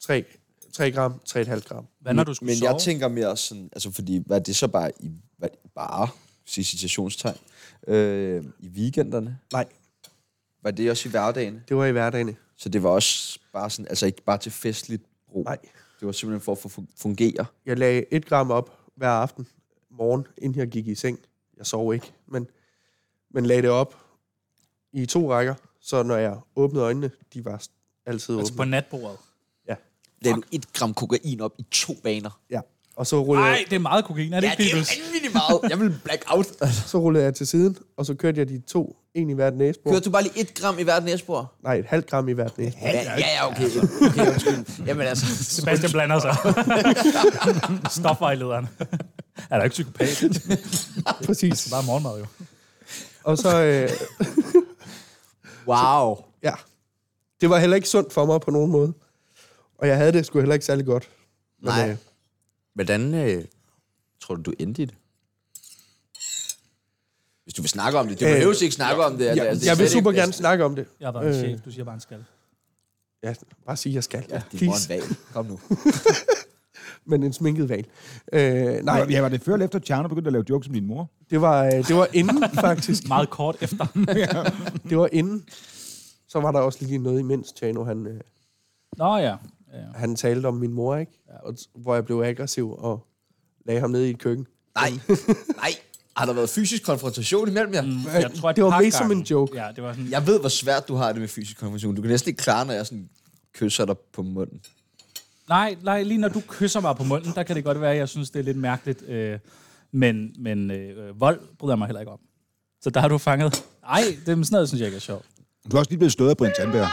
3, 3 gram, 3,5 gram. Hvad når du skulle Men sove? jeg tænker mere sådan, altså fordi, hvad er det så bare i, hvad, bare, sige citationstegn, øh, i weekenderne? Nej, Var det også i hverdagene? det var i hverdagene. Så det var også bare sådan, altså ikke bare til festligt brug. Nej, Det var simpelthen for at få fun- fungere. jeg lagde 1 gram op hver aften, morgen, inden jeg gik i seng. Jeg sov ikke, men, men lagde det op i to rækker, så når jeg åbnede øjnene, de var altid Altså på åbne. natbordet. Lagde du et gram kokain op i to baner? Ja. Og så rullede, Nej, jeg, det er meget kokain, er det Ja, ikke, det er Peoples? vanvittigt meget. Jeg vil black out. så rullede jeg til siden, og så kørte jeg de to, en i hvert næsebord. Kørte du bare lige et gram i hvert næsbord? Nej, et halvt gram i hvert næsebord. Ja, ja, altså. ja, okay. Okay, undskyld. Jamen altså, Sebastian blander sig. Stofvejlederen. Er der ikke psykopat? Præcis. Bare morgenmad jo. Og så, øh, wow. Ja. Det var heller ikke sundt for mig på nogen måde. Og jeg havde det sgu heller ikke særlig godt. Men, Nej. Øh, Hvordan øh, tror du, du endte i det? Hvis du vil snakke om det. Du Øh, behøver ikke snakke om det. jeg, altså, jeg, det er jeg vil slet ikke- super gerne snakke om det. Jeg var Øh. en chef, du siger bare en skal. Ja, bare sige, jeg skal. Ja, Ja, din mor er en please. val. Kom nu. Men en sminket val. Øh, nej, Nej, ja, var det før eller efter, at Tjerno begyndte at lave jokes om din mor? det var, øh, det var inden faktisk. Meget kort efter. Det var inden. Så var der også lige noget imens Tjano, han, øh, Nå ja. Ja, ja. han talte om min mor, ikke? Og, hvor jeg blev aggressiv og lagde ham ned i et køkken. Nej. Nej. Har der været fysisk konfrontation imellem jer? Mm. Jeg tror, et det var par mest som gange- en joke. Ja, det var sådan, Jeg ved, hvor svært du har det med fysisk konfrontation. Du kan næsten ikke klare, når jeg sådan kysser dig på munden. Nej, nej, lige når du kysser mig på munden, der kan det godt være, at jeg synes, det er lidt mærkeligt. Øh, men men øh, øh, vold bryder jeg mig heller ikke om. Så der har du fanget. Nej, det er sådan noget, synes jeg ikke er sjovt. Du er også lige blevet slået af Brian Tandberg.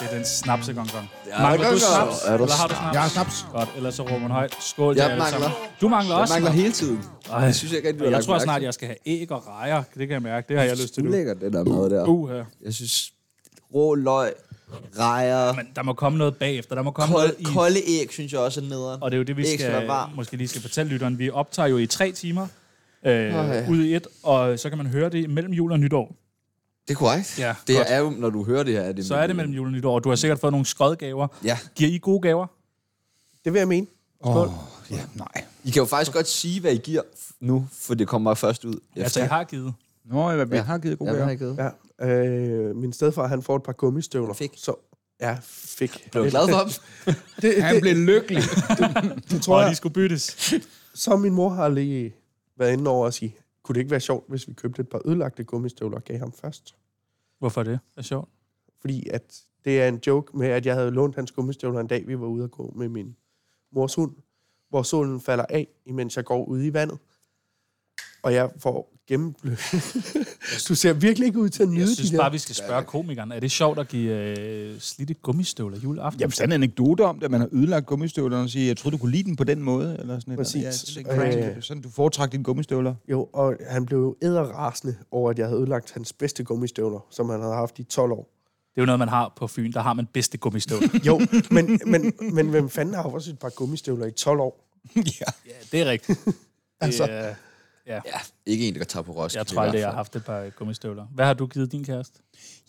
Det er den snapse gong gong. Mangler du gong, gong. snaps? Er du Eller har du snaps? Jeg har snaps. Godt, ellers så råber man højt. Skål til Jeg jer alle mangler. sammen. Du mangler Jeg også mangler snaps. hele tiden. Ej, Jeg synes ikke, rigtig, du har jeg lagt tror mærke snart, til. jeg skal have æg og rejer. Det kan jeg mærke. Det har jeg lyst til nu. Ulækkert, det der mad der. Uh, her. Jeg synes, rå løg, rejer, Men der må komme noget bagefter. Der må komme noget i... kold, kolde æg, synes jeg også er nederen. Og det er jo det, vi Ikke så skal, varm. måske lige skal fortælle lytteren. Vi optager jo i tre timer øh, ud i et, og så kan man høre det mellem jul og nytår. Det er korrekt. Ja, det godt. er jo, når du hører det her. Er det Så er det mellem jul og nytår, og du har sikkert fået nogle skodgaver. Ja. Giver I gode gaver? Det vil jeg mene. Åh, ja, nej. I kan jo faktisk godt sige, hvad I giver f- nu, for det kommer først ud. Altså, jeg har givet. Nå, jeg, jeg har givet god gode gaver. Ja, øh, min stedfar, han får et par gummistøvler. Fik. Så, ja, fik. Blev du glad for dem? Det, Han det, blev lykkelig. det, tror Og jeg, de skulle byttes. så min mor har lige været inde over og sige, kunne det ikke være sjovt, hvis vi købte et par ødelagte gummistøvler og gav ham først? Hvorfor det? Det er sjovt. Fordi at det er en joke med, at jeg havde lånt hans gummistøvler en dag, vi var ude at gå med min mors hund, hvor solen falder af, imens jeg går ude i vandet. Og jeg får gennemblødt. du ser virkelig ikke ud til at nyde Jeg synes de der. bare, vi skal spørge komikeren. Er det sjovt at give øh, slidte gummistøvler juleaften? Jamen, sådan en anekdote om det, at man har ødelagt gummistøvlerne og siger, jeg troede, du kunne lide den på den måde. Eller sådan et- Præcis. Ja, det er crazy. Øh. Sådan, du foretrak dine gummistøvler. Jo, og han blev jo æderrasende over, at jeg havde ødelagt hans bedste gummistøvler, som han havde haft i 12 år. Det er jo noget, man har på Fyn. Der har man bedste gummistøvler. Jo, men, men, men hvem fanden har også et par gummistøvler i 12 år? ja. ja, det er rigtigt. Det, Altså. øh, Ja, ikke en, der tager på Roskilde. jeg tror aldrig, jeg har haft et par gummistøvler. Hvad har du givet din kæreste?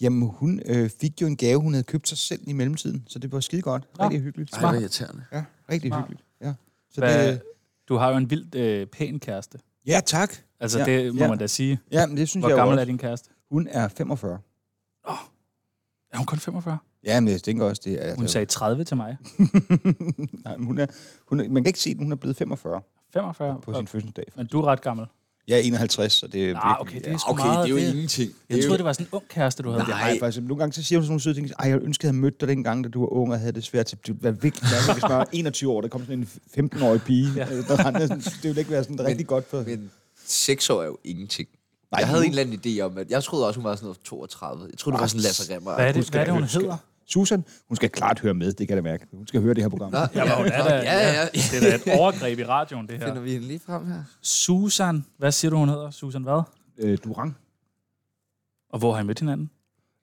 Jamen, hun øh, fik jo en gave, hun havde købt sig selv i mellemtiden, så det var skide godt. Nå. Rigtig hyggeligt. Ej, det var irriterende. Ja, rigtig Smart. hyggeligt. Ja. Så Hvad, det, du har jo en vildt øh, pæn kæreste. ja, tak. Altså, Ja, ja, det må ja. ja. man da sige. Ja, men det synes Hvor jeg jo gammel også. er din kæreste? Hun er 45. Er hun kun 45? Ja, men jeg tænker også, det er... Hun sagde 30 til mig. Nej, men hun er, hun er, man kan ikke se, at hun er blevet 45 45? på sin fødselsdag. Men du er ret gammel. Jeg er 51, så det er Nej, okay, det er sgu Okay, meget. det er jo ingenting. Jeg troede, det var sådan en ung kæreste, du havde. Det har jeg faktisk. Nogle gange så siger hun sådan nogle søde ting. Ej, jeg ønskede, at jeg mødte dig dengang, da du var ung og havde det svært til at være vigtig. Hvad hvis man var 21 år, der kom sådan en 15-årig pige. Ja. Det ville ikke være sådan rigtig godt for... Men seks år er jo ingenting. Nej, Nej, jeg havde nu- en eller anden idé om, at jeg troede også, hun var sådan noget 32. Jeg troede, det var sådan Lasse Remmer. Hvad er det, hvad er det hun hedder? Susan, hun skal klart høre med, det kan jeg da mærke. Hun skal høre det her program. Ja, men hun er da, Ja, ja, ja. Det er da et overgreb i radioen, det Finder her. vi hende lige frem her? Susan. Hvad siger du, hun hedder? Susan hvad? Øh, Durang. Og hvor har I mødt hinanden?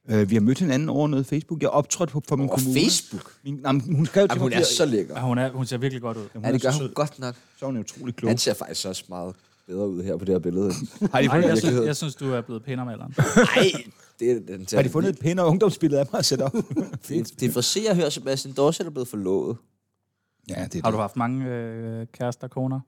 Øh, vi har mødt hinanden over noget Facebook. Jeg optrådte på, for min Over kommune. Facebook? Min, nej, men hun skrev til Jamen, hun mig, er så lækker. Ja, Ah, hun, er, hun ser virkelig godt ud. hun Ja, det er gør så hun sød. godt nok. Så er hun utrolig klog. Han ser faktisk også meget bedre ud her på det her billede. Har de Nej, fundet, jeg synes, virkeligheden. jeg synes, du er blevet pænere med alderen. Nej, det er den har de fundet et pænere ungdomsbillede af mig at sætte op? Det, det er for se at høre, Sebastian Dorset er blevet forlovet. ja, det er Har du haft mange øh, kærester og koner?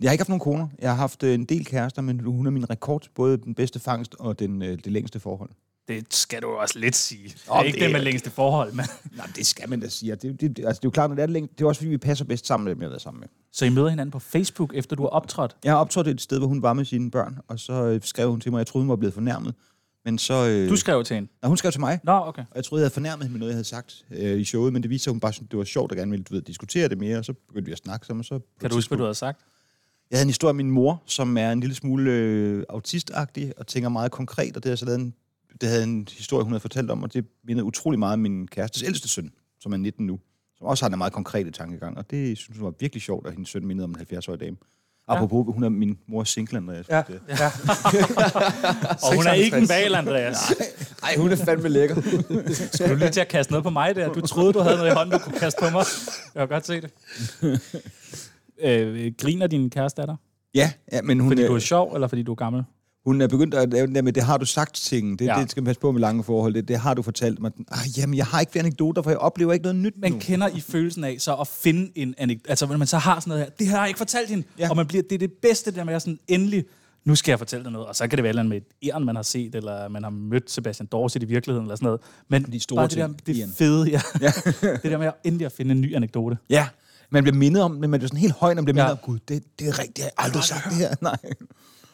Jeg har ikke haft nogen koner. Jeg har haft øh, en del kærester, men hun er min rekord. Både den bedste fangst og den, øh, det længste forhold. Det skal du også lidt sige. Nå, Nå, det er ikke det det, er- med længste forhold, men... Nej, det skal man da sige. Og Det, det, det, altså, det er jo klart, når det er det længst, det er også fordi, vi passer bedst sammen med dem, jeg har været sammen med. Så I møder hinanden på Facebook, efter du har optrådt? Jeg har optrådt et sted, hvor hun var med sine børn, og så øh, skrev hun til mig, jeg troede, hun var blevet fornærmet. Men så... Øh, Du skrev til hende. nej, hun skrev til mig, Nå, okay. og jeg troede, jeg havde fornærmet hende med noget, jeg havde sagt øh, i showet, men det viste sig, at hun bare syntes, det var sjovt, og gerne ville du ved, diskutere det mere, og så begyndte vi at snakke sammen. og Så Kan du huske, hvad du havde sagt? Jeg havde en historie om min mor, som er en lille smule øh, autistagtig og tænker meget konkret, og det, har jeg så lavet en, det havde en historie, hun havde fortalt om, og det mindede utrolig meget om min kærestes ældste søn, som er 19 nu, som også har en meget konkrete tankegang, og det synes hun var virkelig sjovt, at hendes søn mindede om en 70-årig dame. Apropos, hun er min mors single, Andreas. Ja, Det- ja. Og hun er ikke en valg, Andreas. Nej, hun er fandme lækker. Skal du lige til at kaste noget på mig der? Du troede, du havde noget i hånden, du kunne kaste på mig. Jeg kan godt se det. Øh, griner din kæreste af dig? Ja, ja, men hun, øh, Fordi er, du er sjov, eller fordi du er gammel? hun er begyndt at lave den der med, det har du sagt ting. Det, ja. Ja. det skal man passe på med lange forhold. Det, det har du fortalt mig. Ah, jamen, jeg har ikke flere anekdoter, for jeg oplever ikke noget nyt Man nu. kender i følelsen af så at finde en anekdote. Altså, når man så har sådan noget her, det her har jeg ikke fortalt hende. Ja. Ja. Og man bliver, det er det bedste, der med at sådan, endelig, nu skal jeg fortælle dig noget. Og så kan det være et eller andet med et æren, man har set, eller man har mødt Sebastian Dorset i virkeligheden, eller sådan noget. Men De store bare det, der, ting, det Ian. fede, ja. ja. det der med at endelig at finde en ny anekdote. Ja, man bliver mindet om, men man bliver sådan helt høj, når man bliver Ja. mindet om, gud, det, det er rigtigt, jeg har aldrig sagt det her. Nej.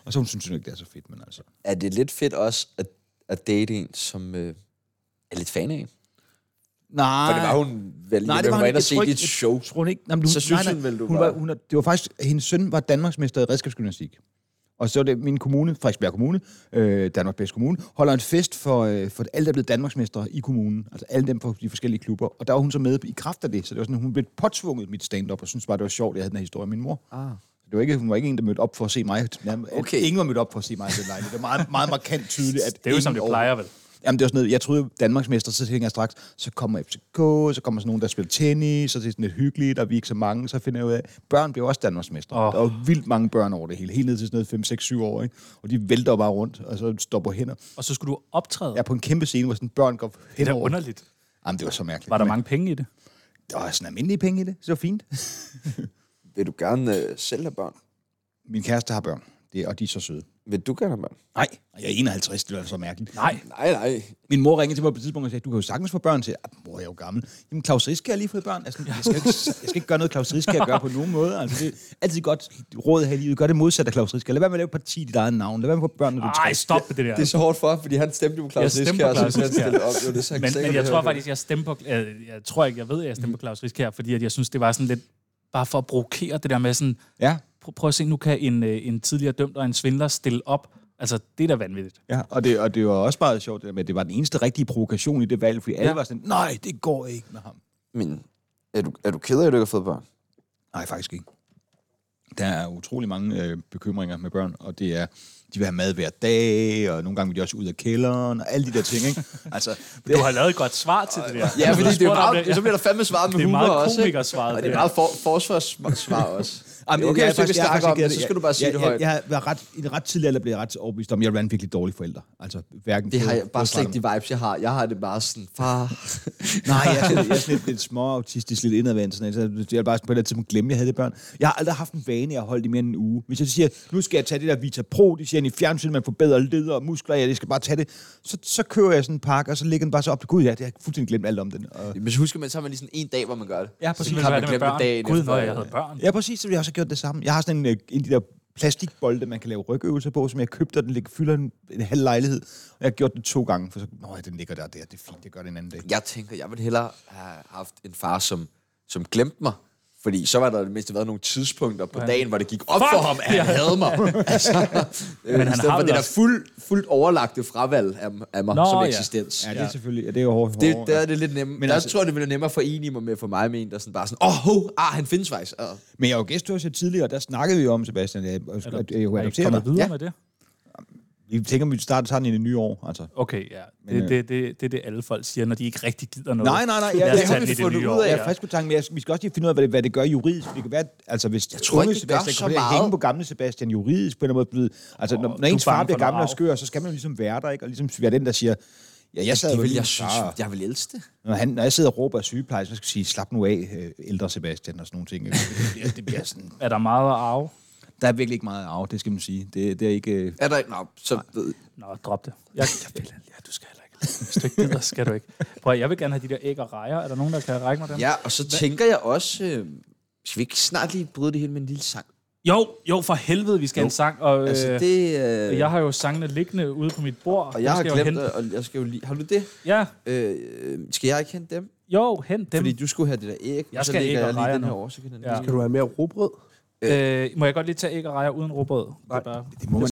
Og så hun synes hun ikke, det er så fedt, men altså. Er det lidt fedt også at, at date en, som øh, er lidt fan af? en? Nej. For det var hun vel lige, da hun var inde og se dit show. Jeg tror hun ikke. Nej, men hun, Så synes nej, nej, hun vel, du hun var- var... Hun, er- det var faktisk, hendes søn var Danmarksmester i redskabsgymnastik. Og så er det min kommune, Frederiksberg Kommune, øh, Danmarks bedste kommune, holder en fest for, øh, for alle, der er blevet Danmarksmester i kommunen. Altså alle dem fra de forskellige klubber. Og der var hun så med i kraft af det. Så det var sådan, hun blev påtvunget mit stand-up, og synes bare, det var sjovt, at jeg havde den her historie med min mor. Ah. Det var ikke, hun var ikke en, der mødte op for at se mig. Nærmest- Okay. Ingen var mødt op for at se mig. i den lejlighed. Det var meget, meget markant tydeligt. At Det er jo, som ingen det over- plejer vel. Jamen, det var sådan noget, jeg troede jo, Danmarksmester, så tænker jeg straks, så kommer FCK, så kommer sådan nogen, der spiller tennis, så det er sådan lidt hyggeligt, og vi er ikke så mange, så finder jeg ud af, børn bliver også Danmarksmester. Oh. Åh. Der er jo vildt mange børn over det hele, helt ned til sådan noget 5, 6, 7 år, ikke? og de vælter jo bare rundt, og så står på hænder. Og så skulle du optræde. Jeg er på en kæmpe scene, hvor sådan børn går Det er da henover. underligt. Jamen, det var så mærkeligt. Var der Men mange penge i det? Der var sådan almindelige penge i det, så det var fint. Vil du gerne øh, selv have børn? Min kæreste har børn, det, og de er så søde. Vil du gerne have børn? Nej, og jeg er 51, det er så mærkeligt. Nej. Nej, nej. Min mor ringede til mig på et tidspunkt og sagde, du kan jo sagtens få børn til. Mor, jeg er jo gammel. Jamen, Claus Riske har lige fået børn. Altså, jeg, skal ikke, jeg skal ikke gøre noget, Claus Riske kan gøre på nogen måde. Altså, det er altid godt råd her i livet. Gør det modsatte af Claus Riske. Lad være med at lave parti i dit eget navn. Lad være med at få børn, når du er Nej, 60. stop med det der. Det er så hårdt for ham, fordi han stemte jo på Jeg Claus stemte Riske, på og så Claus hvis han Riske, ja. stille op, jo, det er så men, men sikkert, jeg det tror her. faktisk, jeg stemmer på, øh, jeg tror ikke, jeg ved, at jeg stemmer på Claus Risk her, fordi at jeg synes, det var sådan lidt, bare for at provokere det der med sådan, Ja, pr- prøv at se, nu kan en, øh, en tidligere dømt og en svindler stille op. Altså, det er da vanvittigt. ja. Og, det, og det var også bare sjovt, det der med, at det var den eneste rigtige provokation i det valg, fordi alle var sådan, nej, det går ikke med ham. Men er du, er du ked af, at du ikke har fået børn? Nej, faktisk ikke. Der er utrolig mange øh, bekymringer med børn, og det er, de vil have mad hver dag, og nogle gange vil de også ud af kælderen, og alle de der ting, ikke? Altså, det, Du har lavet et godt svar til det der. Ja, fordi det er jo Spurgt om meget, så bliver der fandme svaret med Det er humor meget også, ikke? komikersvaret, Og det det er her. meget for, forsvarssvar også. Jamen, okay, hvis du ikke vil snakke om det, ked af så skal du bare sige jeg, det jeg, højt. Jeg, jeg, var ret, i det ret tidlig alder blev jeg ret overbevist om, at jeg ville være en virkelig dårlig forælder. Altså, hverken Det har på- jeg bare på slet ikke farten. de vibes, jeg har. Jeg har det bare sådan, far... Nej, jeg er sådan, jeg er sådan lidt, lidt små autistisk, lidt indadvendt. Sådan, noget. så jeg har bare på et eller andet tidspunkt glemt, at jeg havde det børn. Jeg har aldrig haft en vane, jeg har holdt i mere end en uge. Hvis jeg siger, nu skal jeg tage det der Vita Pro, de siger, i fjernsynet, man får bedre leder og muskler, ja, det skal bare tage det. Så, så kører jeg sådan en pakke, og så ligger den bare så op til Gud, ja, det har jeg fuldstændig glemt alt om den. Og... Men så husker man, så har man lige sådan en dag, hvor man gør det. Ja, Så præcis. Men har hvad er man det med børn? glemt det dagen Gud, efter. når jeg havde børn. Ja, præcis, så jeg har også gjort det samme. Jeg har sådan en, øh, en af de der plastikbolde, man kan lave rygøvelser på, som jeg købte, og den ligger, fylder en, en halv lejlighed. Og jeg har gjort det to gange, for så, nå ja, den ligger der, der, det er fint, det gør det en anden dag. Jeg tænker, jeg ville hellere have haft en far, som, som glemte mig. Fordi så var der i det mindste været nogle tidspunkter på dagen, hvor det gik op Fuck! for ham, at han havde mig. altså, Men han i stedet har for vel det der også- fuld, fuldt overlagte fravalg af, af mig Nå, Nå, som ja. eksistens. Ja, det er selvfølgelig, ja, det er jo hårdt. Det, der er det lidt nemmere. Men der altså- altså, tror jeg, det ville være nemmere at forene mig med for mig med en, der sådan bare sådan, åh, oh, ho, ah, han findes faktisk. Ah. Men jeg var gæst hos jer tidligere, og der snakkede vi om, Sebastian, at jeg, at jeg kunne Er I adoptere kommet dig. videre Ja. med det? Vi tænker, at vi starter sådan i det nye år, altså. Okay, ja. Men, øh, Det, det, det, det er det, alle folk siger, når de ikke rigtig gider noget. Nej, nej, nej. Lad Jeg, os jeg, tage jeg, den i jeg, det fundet nye ud år, af, jeg ja. er frisk på tanken, men jeg, vi skal også lige finde ud af, hvad det, hvad det gør juridisk. For det kan være, at- altså hvis jeg tror ikke, det gør Sebastian så kommer til at hænge meget. på gamle Sebastian juridisk på en eller anden måde. blevet- Altså, når, Åh, når du ens er bange far bliver for noget gammel og arv. skør, så skal man jo ligesom være der, ikke? Og ligesom være den, der siger, ja, jeg sad Det jo vil min jeg synes, far. jeg vil elske det. Når, han, når jeg sidder og råber af sygeplejerske, så skal jeg sige, slap nu af, øh, ældre Sebastian og sådan nogle ting. ikke? Det bliver, det bliver sådan, Er der meget at arve? der er virkelig ikke meget af, det skal man sige. Det, det er ikke... øh, Er der ikke? Nå, så ved Nå, drop det. Jeg, jeg vil, ja, du skal heller ikke. Hvis du ikke gider, skal du ikke. Prøv at, jeg vil gerne have de der æg og rejer. Er der nogen, der kan række mig dem? Ja, og så tænker jeg også, øh, skal vi ikke snart lige bryde det hele med en lille sang? Jo, jo, for helvede, vi skal have en sang. Og, øh, Altså, det... Øh, Jeg har jo sangene liggende ude på mit bord. og Dem jeg har skal jo glemt, hente. og jeg skal jo lige... Har du det? Ja, Øh, skal jeg ikke hente dem? dem? jo, hent dem. Fordi du skulle have det der æg, Jeg og så skal æg lægger og jeg lige rejer den her nu. over, så kan den Ja. ja. Kan du have mere robrød? Øh, må jeg godt lige tage æg og rejer uden råbrød? Nej, bare... det må man.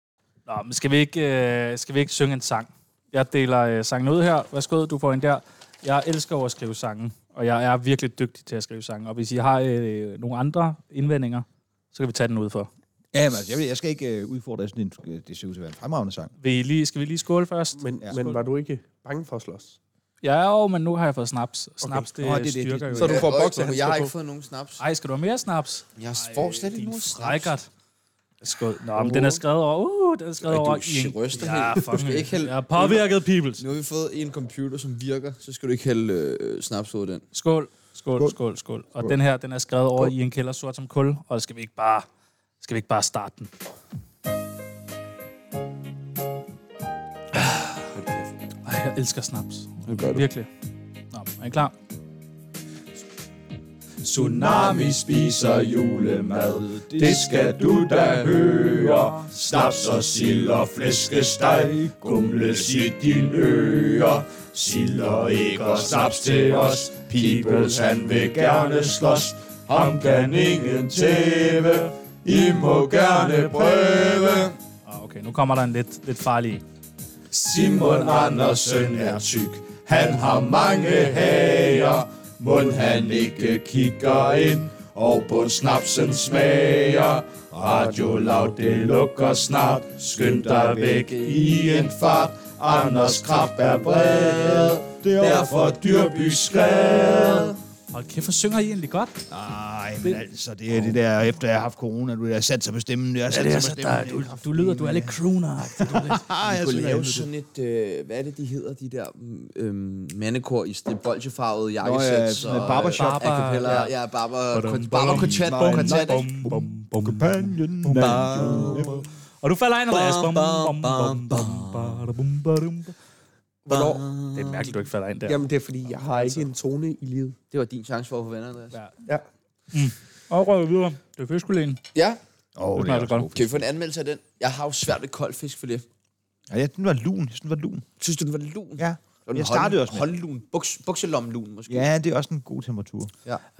Nå, men skal vi, ikke, øh, skal vi ikke synge en sang? Jeg deler øh, sangen ud her. Værsgo, du får en der. Jeg elsker jo at skrive sange, og jeg er virkelig dygtig til at skrive sange. Og hvis I har øh, nogle andre indvendinger, så kan vi tage den ud for. Ja, men altså, jeg, vil- jeg skal ikke øh, udfordre sådan en... øh, Det ser ud til at være en fremragende sang. Vil I lige, skal vi lige skåle først? Men, Ja. ja. men var du ikke bange for at slås? Ja, jo, men nu har jeg fået snaps. Snaps, okay. det, Nå, oh, det det er det, det er styrker det. jo. Så du ikke. får Jeg, bokser, jeg, jeg har ikke fået nogen snaps. Ej, skal du have mere snaps? Jeg får slet ikke Din nogen snaps. frækkert. Skål. Nå, men den er skrevet over. Uh, den er skrevet Ej, du over. sh- ryster ja, helt. Du skal fucking. ikke hælde- Jeg er påvirket, peoples. Nu har vi fået en computer, som virker, så skal du ikke hælde øh, snaps ud af den. Skål, skål, skål, skål. Og den her, den er skrevet over i en kælder sort som kul, og skal vi ikke bare, skal vi ikke bare starte den? Ej, Ah, jeg elsker snaps. Det gør du. Virkelig. Nå, er I klar? Tsunami spiser julemad, det skal du da høre. Snaps og sild og flæskesteg, gumles i din ører. Sild og æg og snaps til os, Pibels han vil gerne slås. Ham kan ingen tæve, I må gerne prøve. Ah, okay, nu kommer der en lidt, lidt farlig. Simon Andersen er tyk, han har mange hager. Mund han ikke kigger ind, og på snapsen smager. Radio Loud, det lukker snart, skynd dig væk i en fart. Anders Krab er vred, derfor Dyrby skred. Hold kæft, hvor synger I egentlig godt. Ah, Nej, men altså, det er det der, efter jeg har haft corona, du har sat sig på stemmen. Jeg har sat sig på Du, stemmen. du lyder, du er lidt crooner. Ah, jeg kunne synes, lave jeg sådan et, øh, hvad er det, de hedder, de der mm, øhm, mandekor i det bolsjefarvede Nå, ja, jakkesæt. sådan noget barbershop. Barber, ja, ja barber, kon- barberkoncert. koncert, ikke? Companion. Og du falder ind, Andreas. Bam, Bum, bam, bum, bum, bum, bada, bum, bada, bum. Hvornår? Det er mærkeligt, du ikke falder ind der. Jamen, det er fordi, jeg har ikke en tone i livet. Det var din chance for at få venner, Andreas. Ja. Ja. Og røver videre. Det er fiskelægen. Ja. Åh, det smager er det også godt. god. Kan vi få en anmeldelse af den? Jeg har jo svært ved kold fisk for det. Ja, jeg synes, den var lun. Jeg synes, den var lun. Synes du, den var lun? Ja. Og den Jeg startede hånd- også med. Håndlun, buks, bukselomlun måske. Ja, det er også en god temperatur.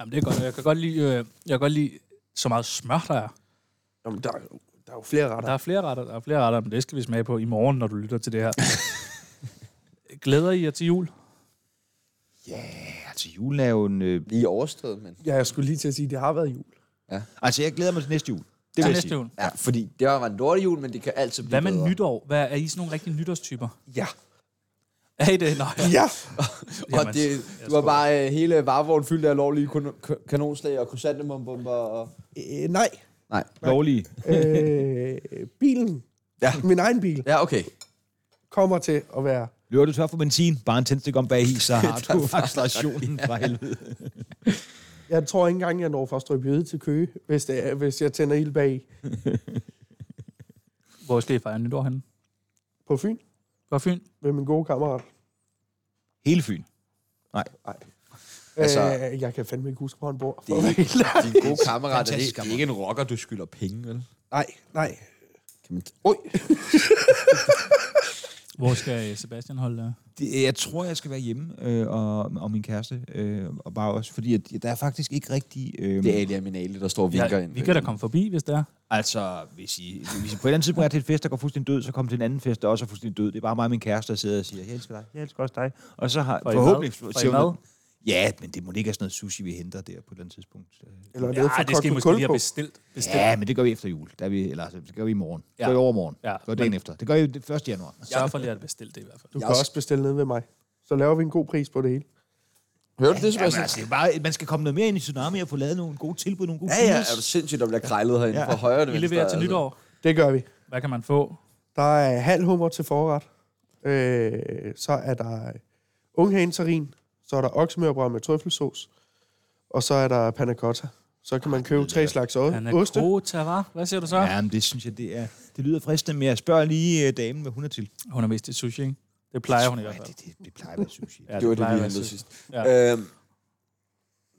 Jamen, det er godt. og Jeg kan godt lide, øh, jeg kan godt lide så meget smør, der er. Jamen, der, er jo- der er jo flere retter. Der er flere retter, der er flere retter, men det skal vi smage på i morgen, når du lytter til det her. Glæder I jer til jul? Ja, til julen er jo en... Øh... Lige overstået, men... Ja, jeg skulle lige til at sige, at det har været jul. Altså, jeg glæder mig til næste jul. Det Til vil jeg næste sige. jul. Ja, fordi det var en dårlig jul, men det kan altid blive Hvad med bedre. nytår? Hvad, er I sådan nogle rigtige nytårstyper? Ja. Er I det? Nej. Ja. Og det, det var bare øh, hele varevognen fyldt af lovlige kon- k- kanonslag og krysantemumbomber og... Øh, nej. Nej. Lovlige. Øh, bilen. Ja. Min egen bil Ja, okay. kommer til at være... Løber du tør for benzin? Bare en tændstik om bag i, så har du accelerationen fra helvede. Jeg tror ikke engang, jeg når fra Strøbjøde til Køge, hvis, det er, hvis jeg tænder ild bag Hvor skal I fejre nytår henne? på Fyn På Fyn? med min gode kammerat. Hele Fyn. Altså, Altså- øh, jeg kan fandme ikke huske, hvor han bor. Det er ikke, din gode kammerat, det, det er ikke en rocker, du skylder penge, vel? Nej, nej. Kan man Oj, Hvor skal øh, Sebastian holde? øh? Det, jeg tror, jeg skal være hjemme øh, og, og min kæreste. Øh, og bare også, fordi at, der er faktisk ikke rigtig... Øh, det er Ali Aminali, der står og vinker Ja, ind. vi kan da komme forbi, hvis det er. Altså, hvis I, hvis I på et eller andet tidspunkt er til et fest, der går fuldstændig død, så kommer til en anden fest, der også er fuldstændig død. Det er bare mig og min kæreste, der sidder og siger, jeg elsker dig, jeg elsker også dig. Og så har Får I forhåbentlig... mad? Får I siger hun, mad? Ja, men det må ikke være sådan noget sushi, vi henter der på et eller andet tidspunkt. Eller Ja, nede fra det skal I Kok- måske lige Kulpo. have bestilt. bestilt. Ja, men det gør vi efter jul. Der er vi, eller altså, det gør vi i morgen. Det Ja. gør vi i overmorgen. Ja, Ja. Det gør dagen efter. Det gør vi den 1. januar. Sørg for lige at bestille det i hvert fald. Du kan også bestille nede ved mig. Så laver vi en god pris på det hele. Hørte du det, Jamen, Sebastian? altså, det er bare, man skal komme noget mere ind i tsunami og få lavet nogle gode tilbud, nogle gode Ja, ja, er du sindssygt, der bliver krejlet herinde ja. fra højre til I venstre. leverer til altså. nytår. Det gør vi. Hvad kan man få? Der er halv hummer til forret. Øh, så er der unghagensarin. Så er der oksemørbrød med trøffelsauce. Og så er der panna cotta. Så kan man købe tre slags o- Han er oste. krota, hva'? Hvad siger du så? Ja, men det synes jeg, det er... Det lyder fristende, men jeg spørger lige uh, damen, hvad hun er til. Hun er mest til sushi, ikke? Det plejer hun i hvert Ja, fald. det, det, det plejer at være sushi. Ja, Det var det, plejer at vi være hentede sushi. sidst. Ja. Øhm,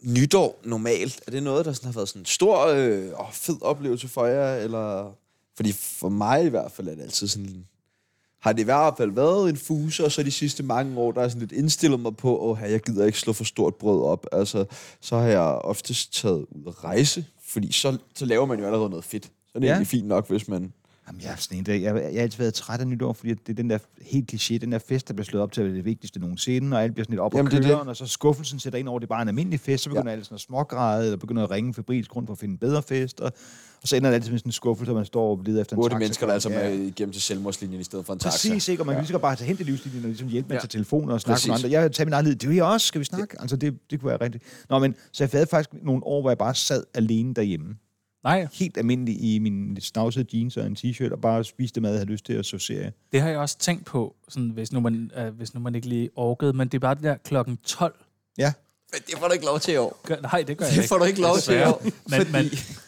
nytår normalt, er det noget, der sådan har været sådan en stor øh, og fed oplevelse for jer? Eller? Fordi for mig i hvert fald er det altid sådan... Har det i hvert fald været en fuse, og så de sidste mange år, der er sådan lidt indstillet mig på, åh, her, jeg gider ikke slå for stort brød op. Altså, så har jeg oftest taget ud at rejse, fordi så, så laver man jo allerede noget fedt. Så er det ja. Ja. egentlig fint nok, hvis man... Jamen, jeg, er sådan en, der, jeg, jeg har altid været træt af nytår, fordi det er den der helt kliché, den der fest, der bliver slået op til at være det vigtigste nogensinde, og alt bliver sådan lidt op Jamen, Jamen, det er køren, det. og så skuffelsen sætter ind over, at det er bare en almindelig fest, så begynder ja. alle sådan at smågræde, og begynder at ringe febrilsk rundt for at finde en bedre fest, og, og så ender det altid med sådan en skuffelse, og man står og leder efter en Otte taxa. mennesker, der altså Ja. med igennem til selvmordslinjen i stedet for en taxa. Præcis, ikke? Og man kan lige så godt bare tage hen til livslinjen og ligesom hjælpe med ja. til telefoner og snakke Præcis. med andre. Jeg tager min egen lid. Det er jeg også. Skal vi snakke? Altså, det, det kunne være rigtigt. Nå, men så jeg havde faktisk nogle år, hvor jeg bare sad alene derhjemme. Nej, Helt almindelig i min snavsede jeans og en t-shirt, og bare spiste det mad, jeg havde lyst til, og så serie. det har jeg også tænkt på, sådan, hvis, nu man, øh, hvis nu man ikke lige orkede, men det er bare det der klokken 12. Ja. Men det får du ikke lov til i år. Gør, nej, det gør jeg Det får ikke. du ikke lov til i Desværre. år. Men, men,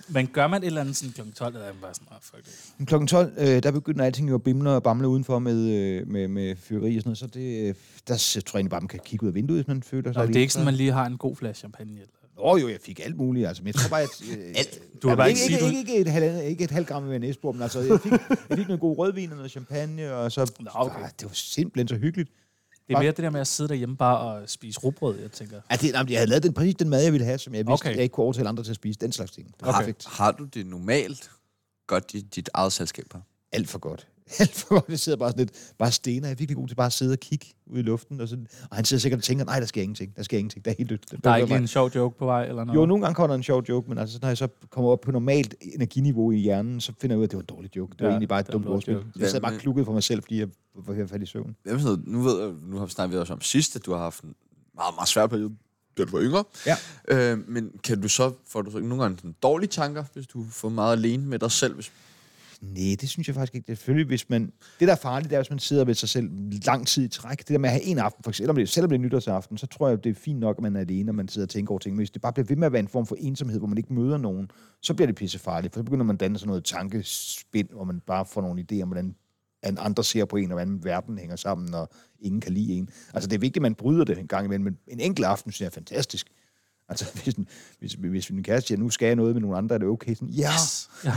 men gør man et eller andet sådan klokken 12, eller er man bare sådan, oh, fuck det. Men klokken 12, øh, der begynder alting jo at bimle og bamle udenfor med, øh, med, med fyrværkeri og sådan noget, så det, øh, der s- tror jeg egentlig bare, man kan kigge ud af vinduet, hvis man føler sig Og det er lidt- ikke sådan, man lige har en god flaske champagne. Eller. Åh jo, jeg fik alt muligt, altså, men jeg tror bare, at... Øh, Du har bare ikke ikke, sige, ikke, du... ikke, ikke, et halv, ikke et halvt gram med næsbor, men altså, jeg fik, jeg fik noget god rødvin og noget champagne, og så... Nå, okay. Ah, det var simpelthen så hyggeligt. Det er mere det der med at sidde derhjemme bare og spise rugbrød, jeg tænker. Ja, Altså, det, jamen, jeg havde lavet den, præcis den mad, jeg ville have, som jeg vidste, Okay. okay. jeg ikke kunne overtale andre til at spise. Den slags ting. Det var Okay. okay. perfekt. Har du det normalt godt i dit eget selskab her? Alt for godt. Alt for godt. Jeg sidder bare sådan lidt, bare stener. Jeg er virkelig god til bare at sidde og kigge ud i luften. Og, sådan, og han sidder sikkert og tænker, nej, der sker ingenting. Der sker ingenting. Der er helt dødt. Den Der er behøver ikke lige mig. en sjov joke på vej, eller noget? Jo, nogle gange kommer der en sjov joke, men altså, når jeg så kommer op på normalt energiniveau i hjernen, så finder jeg ud af, at det var en dårlig joke. Det var Ja, egentlig bare et det var en dumt lort ordspil. joke. Jeg sad Ja, bare men- klukket for mig selv, fordi jeg var ved at falde i søvn. Hvem ved, nu, ved jeg, nu har vi snakket også om sidst, at du har haft en meget, meget svær periode da du var yngre. Ja. Øh, men kan du så, får du så ikke nogle gange sådan dårlige tanker, hvis du er for meget alene med dig selv? Hvis, Nej, det synes jeg faktisk ikke. Det er selvfølgelig, hvis man... Det, der er farligt, det er, hvis man sidder ved sig selv lang tid i træk. Det der med at have en aften, for eksempel, om det, selvom det er nytårsaften, så tror jeg, det er fint nok, at man er alene, og man sidder og tænker over ting. Men hvis det bare bliver ved med at være en form for ensomhed, hvor man ikke møder nogen, så bliver det pissefarligt, for så begynder man at danne sådan noget tankespind, hvor man bare får nogle idéer om, hvordan an- andre ser på en, og hvordan verden hænger sammen, og ingen kan lide en. Altså, det er vigtigt, at man bryder det en gang imellem, men en enkelt aften synes jeg er fantastisk. Altså, hvis, den- hvis, hvis min kæreste siger, nu skal jeg noget med nogle andre, er det okay? Sådan, ja, yes. så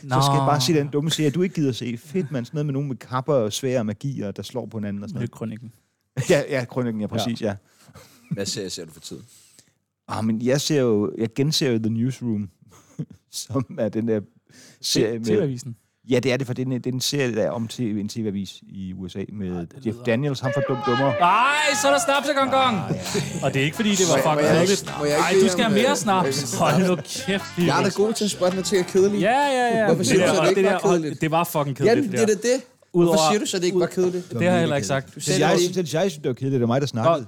skal jeg bare se den dumme serie, du ikke gider se. Fedt, man. Sådan noget med nogen med kapper og svære magier, der slår på hinanden og sådan noget. Nødkronikken. Ja, ja, krønningen, ja, præcis, ja. ja. hvad ser, ser du for tiden? Ah, men jeg ser jo, jeg genser jo The Newsroom, som er den der serie med... TV-avisen. Ja, det er det, for det er den, det er den serie, der er om TV, en tv-avis i USA med Jeff Daniels, ham fra Dum Dummer. Nej, så er der snaps og gongong. Ah, Og det er ikke, fordi det var fucking kedeligt. Nej, du skal have mere snaps. Hold nu kæft. øh, Jeg er da god til at spørge, når ting er kedelige. Ja, ja, ja. Hvorfor siger du så, det ikke var der- hold- kedeligt? Det var fucking ja kedeligt. det er da det. Udover- Hvorfor siger du så, det ikke var kedeligt? Det har jeg heller ikke sagt. Du Jeg, sagde, jeg, det synes, var- det- jeg synes, det var kedeligt. Det var mig, Nå, der snakkede.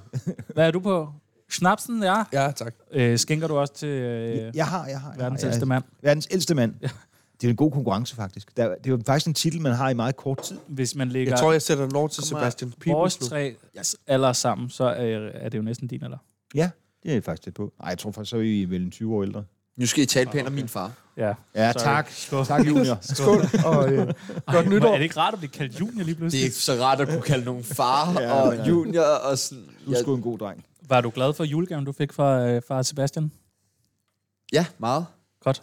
hvad er du på? Snapsen, ja. Ja, tak. Øh, skænker du også til øh, Jeg har, jeg har. jeg verdens har, jeg- ældste mand? Verdens ældste mand. Det er en god konkurrence, faktisk. Der, det er jo faktisk en titel, man har i meget kort tid. Hvis man Jeg lægger tror, jeg sætter den over til Sebastian vores Pibels nu. tre alder sammen, så øh, er det jo næsten din alder. Ja, det er jeg faktisk tæt på. Nej, jeg tror faktisk, så er I vel en 20 år ældre. Nu skal I tale pænt om min far. Ja. Ah, Ja, Sorry. tak. Skål. Tak, junior. Skål, og øh, godt Nytår. nytår. Er det ikke rart at blive kaldt junior lige Det er pludselig? ikke så rart at kunne kalde nogen far ja, og ja. junior og sådan. Du er sgu en god dreng. Var du glad for julegaven, du fik fra, øh, fra Sebastian? Ja, meget. Godt.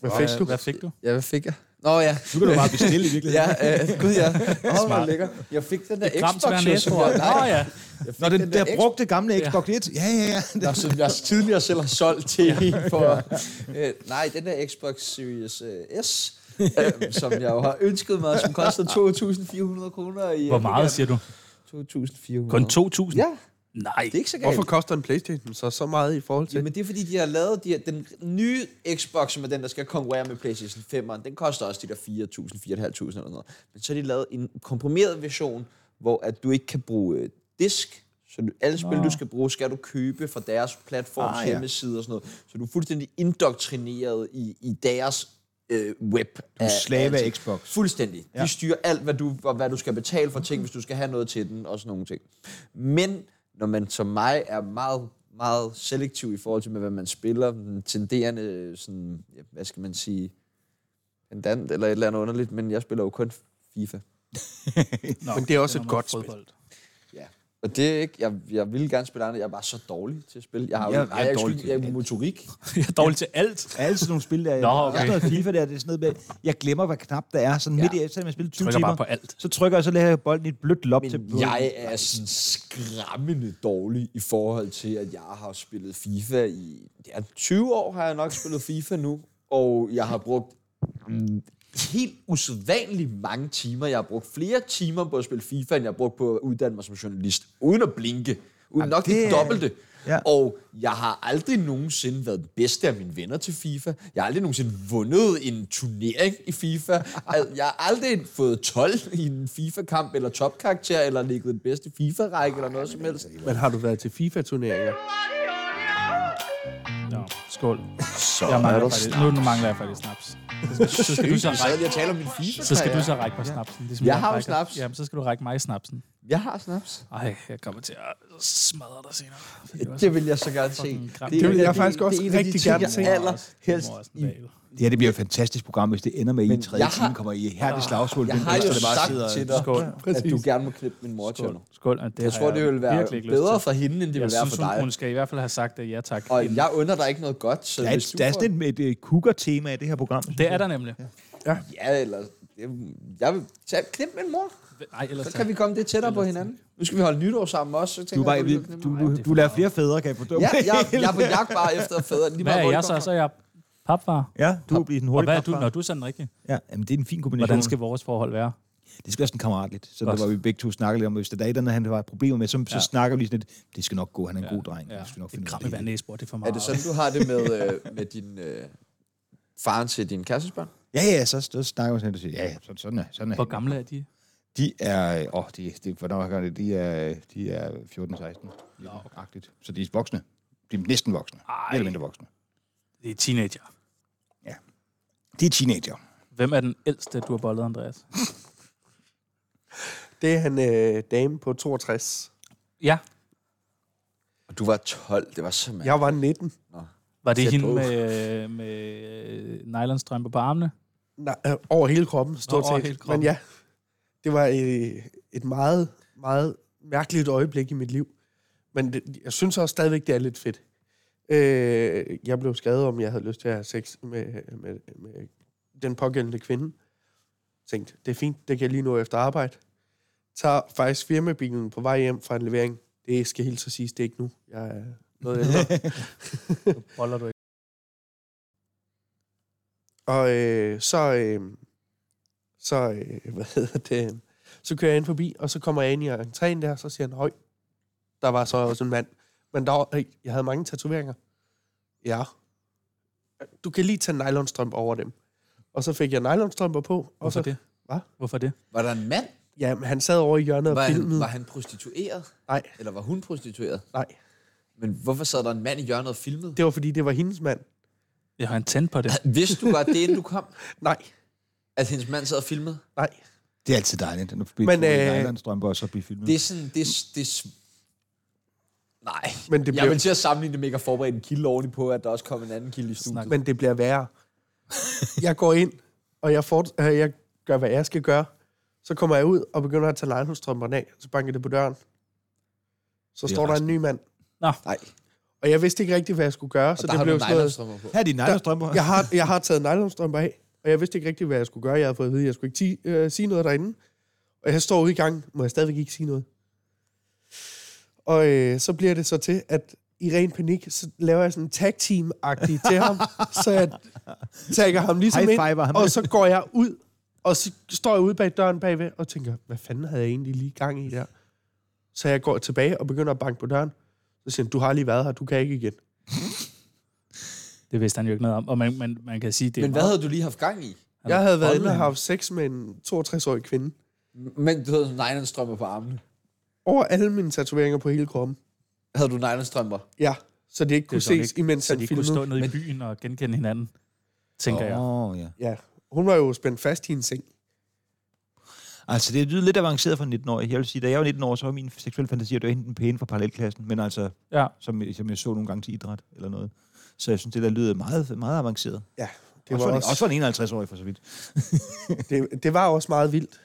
Hvad fik du? Hvad fik du? Ja, hvad fik jeg? Nå ja. Du kan da bare bestille i virkeligheden. Ja, øh, gud ja. Åh, hvor lækker. Jeg fik den der Gram til hver Xbox, jo, næse, som tror jeg, jeg. Nå nej, ja. jeg fik Når den der Xbox, brugte gamle Xbox One. Ja, ja, ja. der, som jeg tidligere selv har solgt til en for... Øh, nej, den der Xbox Series øh, S, øh, som jeg jo har ønsket mig, som koster 2.400 kroner i... Hvor meget siger du? 2.400. Kun 2.000? Ja, Nej. det er ikke så galt. Hvorfor koster en Playstation så så meget i forhold til? Jamen, det er fordi, de har lavet de her, den nye Xbox, som er den, der skal konkurrere med PlayStation 5'eren. Den koster også de der 4.000, 4.500 eller sådan noget. Men så har de lavet en komprimeret version, hvor at du ikke kan bruge øh, disk. Så du, alle spil, du skal bruge, skal du købe fra deres platforms ah, Ah, ja. hjemmeside og sådan noget. Så du er fuldstændig indoktrineret i, i deres øh, web. Du er slave af Xbox. Fuldstændig. Ja. De styrer alt, hvad du, og hvad du skal betale for ting, hvis du skal have noget til den, og sådan nogle ting. Men når man som mig er meget, meget selektiv i forhold til, med, hvad man spiller, den tenderende, sådan, ja, hvad skal man sige, pendant eller et eller andet underligt, men jeg spiller jo kun FIFA. Nå, Men det er også et meget godt spil. fodbold. Ja. Og det er ikke, jeg, jeg ville gerne spille andet, jeg er bare så dårlig til at spille. Jeg har jo, Jeg- jeg, jeg er jeg, jeg, dårlig jeg, jeg, er motorik. Jeg er dårlig til alt. Alle sådan nogle spil der. Nå, okay. Også noget FIFA der, det er sådan noget med, jeg glemmer, hvad knap der er. Sådan midt i, selvom jeg spiller 20 Trykker bare timer, på alt. så trykker jeg, så lader jeg bolden i et blødt lop til Men jeg er sådan skræmmende dårlig i forhold til, at jeg har spillet FIFA i... Ja, 20 år har jeg nok spillet FIFA nu, og jeg har brugt mm, helt usædvanligt mange timer. Jeg har brugt flere timer på at spille FIFA, end jeg har brugt på at uddanne mig som journalist, uden at blinke. Uden nok det, det det er- dobbelte. Ja. Ja. Og jeg har aldrig nogensinde været den bedste af mine venner til FIFA. Jeg har aldrig nogensinde vundet en turnering i FIFA. Al- Jeg har aldrig fået 12 i en FIFA-kamp, eller topkarakter, eller ligget den bedste FIFA-række, eller noget som helst. Men har du været til FIFA-turneringer? Nå, skål. Så jeg mangler faktisk, nu, nu mangler jeg faktisk snaps. Så skal du så Så række, jeg taler om min FIFA. så skal du så række mig snapsen. Ligesom Jeg har jo rækker- snaps. Jamen, så skal du række mig snapsen. Jeg har snaps. Ej, jeg kommer til at smadre dig senere. Det var Det vil jeg så gerne se. Fucking kram. er- Det vil jeg er- faktisk også det er en af de rigtig ting, gerne jeg se. allerhelst i Det her det bliver et fantastisk program, hvis det ender med, at I i tredje jeg har- Ah, time kommer i herlig slagsmål. Jeg har jo sagt til dig, Skål. at du gerne må klippe min mor til nu. Skål. og Det Jeg har tror, det ville være virkelig ikke lyst bedre til. for hende, end det jeg ville være synes, for hun, dig. hun skal i hvert fald have sagt øh, ja tak. Og inden. jeg under dig ikke noget godt, så Der er, hvis et, du der er får- sådan et, et kukker-tema i det her program. Det er der nemlig. Ja, eller... Jeg vil tage, knip min mor. Nej, ellers Så kan vi komme det tættere på hinanden. Nu skal vi holde nytår sammen også. Så Du, er tænker bare, jeg, du, knip du, mig. du, du lærer flere fædre, kan jeg få dumme. Ja, jeg, jeg er på jagt bare efter at fædre. Lige Hvad meget, er hvor jeg det så? kommer Så er jeg papfar. Ja, du bliver sådan Og hurtig hvad er du, papfar. når du er sådan rigtig? Ja, jamen, det er en fin kombination. Hvordan skal vores forhold være? Det skal være sådan kammeratligt. Så Godt. der var vi begge to snakker lidt om, hvis der er et eller andet, han har problemer med, så, så Ja. snakker vi lige sådan lidt, det skal nok gå, han er en god dreng. Ja. Ja. Det skal nok Et finde ud af kram i det. hver hele." næsebord, det er for fra. Er meget. det sådan, du har det med, øh, med din øh, faren til din kærestesbørn? Ja, ja, så, så snakker vi sådan lidt, og siger, ja, ja, sådan, sådan er, sådan er. Hvor han. gamle er de? De er, åh, de, de, hvornår gør det? De er, de er 14-16. Agtigt. Så de er voksne. De er næsten voksne. Ej. Eller mindre voksne. Det er teenager. De er teenager. Hvem er den ældste, du har bollet, Andreas? Det er han øh, dame på 62. Ja, Og du var 12, det var så mærkeligt. Jeg var 19. var det Tæt hende på. med, med øh, nylonstrømper på armene? Nej, øh, over hele kroppen, stort Nå, over set. hele kroppen. Men ja, det var øh, et meget, meget mærkeligt øjeblik i mit liv. Men det, jeg synes også stadigvæk, det er lidt fedt. Øh, jeg blev skadet, om jeg havde lyst til at have sex med, med, med den pågældende kvinde. Tænkte, det er fint, det kan jeg lige nå efter arbejde. Tager faktisk firmabilen på vej hjem fra en levering. Det skal helt så siges, det er ikke nu. Jeg er noget ældre. Boller du ikke? Og øh, så, øh, så, øh, hvad hedder det, så kører jeg ind forbi, og så kommer jeg ind i entréen der, så siger han, høj, der var så også en mand. Men der var, øh, jeg havde mange tatoveringer. Ja. Du kan lige tage nylonstrømper over dem. Og så fik jeg nylonstrømper på, og Hvorfor så, det? Hva? Hvorfor det? Var der en mand? ja, men han sad over i hjørnet Var og han, filmede. var han prostitueret? Nej, Eller var hun prostitueret? nej. Men hvorfor sad der en mand i hjørnet og filmede? Det var, fordi det var hendes mand. Jeg har en tændt på det. Vidste du godt det, inden du kom? Nej, At hendes mand sad og filmede? nej. Det er altid dejligt, når du Men, øh, bliver strømper og så bliver filmet. Det er sådan, det, er- det er s- Nej. Men det Jeg bliver, vil til at sammenligne det med ikke at forberede en kilde oveni på, at der også kom en anden kilde i studiet. men det bliver værre. Jeg går ind, og jeg, fort, øh, jeg gør, hvad jeg skal gøre. Så kommer jeg ud og begynder at tage lejlighedsstrømperne af. Så banker det på døren. Så står der en ny mand. Nej, Og jeg vidste ikke rigtigt, hvad jeg skulle gøre. og Så der det har du blev sådan noget, nylonstrømmer på. Her er de nylonstrømper. jeg, har, jeg har taget nylonstrømper af, og jeg vidste ikke rigtigt, hvad jeg skulle gøre. Jeg havde fået at vide, at jeg skulle ikke ti, øh, sige noget derinde. Og jeg står ude i gang, må jeg stadigvæk ikke sige noget. Og øh, så bliver det så til, at i ren panik, så laver jeg sådan en tag team til ham, så jeg tager ham ligesom High ind, fiver ham. og så går jeg ud, og så står jeg ude bag døren bagved, og tænker, hvad fanden havde jeg egentlig lige gang i der? Så jeg går tilbage og begynder at banke på døren. Så siger han, du har lige været her, du kan ikke igen. Det vidste han jo ikke noget om. Og man, man, man kan sige, det er Men hvad havde du lige haft gang i? Jeg havde været inde og haft sex med en 62-årig kvinde. Men du havde nylonstrømmer på armene. Over alle mine tatoveringer på hele kroppen. Havde du nylonstrømper? Ja, så det ikke kunne Det er sådan ses, ikke- imens så han de filmede. kunne stå nede i byen og genkende hinanden, tænker jeg. Åh, oh, ja. Ja, hun var jo spændt fast i en seng. Altså, det lyder lidt avanceret for en 19-årig. Jeg vil sige, da jeg var 19 år, så var min seksuelle fantasi, at det var hente den pæne fra parallelklassen, men altså, Ja. som, som jeg så nogle gange til idræt eller noget. Så jeg synes, det der lyder meget, meget avanceret. Ja, Det det også, var, var også, også også, for en 51-årig, for så vidt. det, det var også meget vildt.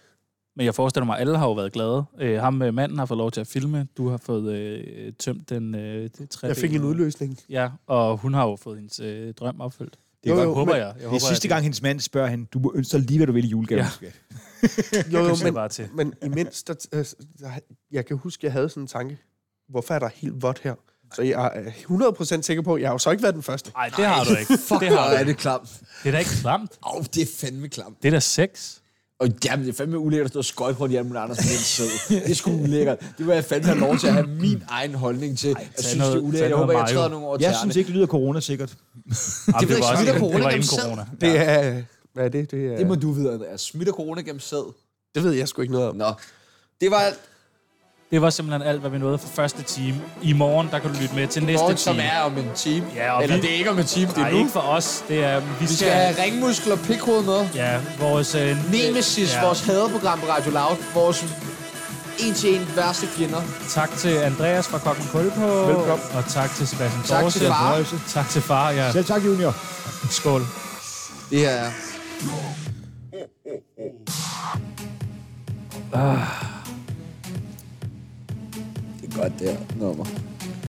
Men jeg forestiller mig, at alle har jo været glade. Øh, ham med manden har fået lov til at filme. Du har fået øh, tømt den øh, det træ. Jeg fik en udløsning. Ja, og hun har jo fået hendes øh, drøm opfyldt. Jo, Det jo, jo, jo, håber men jeg. jeg Det håber, er sidste at gang, hendes mand spørger hende, du må ønske dig lige, hvad du vil i julegave. Ja. Ja. Jo, jo, Det ser men, bare til. men imens, der, øh, der, jeg kan huske, jeg havde sådan en tanke. Hvorfor er der helt vådt her? Så jeg er øh, 100% sikker på, at jeg har jo så ikke været den første. Nej, det har du ikke. Det har Hvor du er ikke. det klamt. Det er da ikke klamt. Au, det er fandme klamt. Det er da sex. Og jamen, det er fandme ulækkert at stå og skøjte rundt i alle mulige andre som en sød. Det er sgu ulækkert. Det vil jeg fandme have lov til at have min egen holdning til. jeg synes, noget- det er ulækkert. tag Jeg håber, noget jeg træder mayo. nogen over Jeg tæerne. synes ikke, det lyder corona-sikkert. Jamen, ved jeg ikke. Smitter inden- corona det var gennem inden sæd? corona. Det er... Hvad er det? Det, er, Det må du vide, Andreas. Smitter corona gennem sæd? det ved jeg sgu ikke noget om. Nå. Det var alt. Det var simpelthen alt, hvad vi nåede for første time. I morgen, der kan du lytte med til næste Morgen, time. som er om en time. Ja, og Eller vi- det er ikke om en time, det er Nej, nu. ikke for os. Det er, vi, Vi skal have ringmuskler og pikhoved med. Ja, vores... Øh, Nemesis, ja, vores haderprogram på Radio Loud. Vores en-til-en værste fjender. Tak til Andreas fra Kokken Kul på. Velkommen. Og tak til Sebastian Tak Dorse. til far. Tak til far, ja. Selv tak, junior. Skål. Det her er... Det er godt, det her nummer.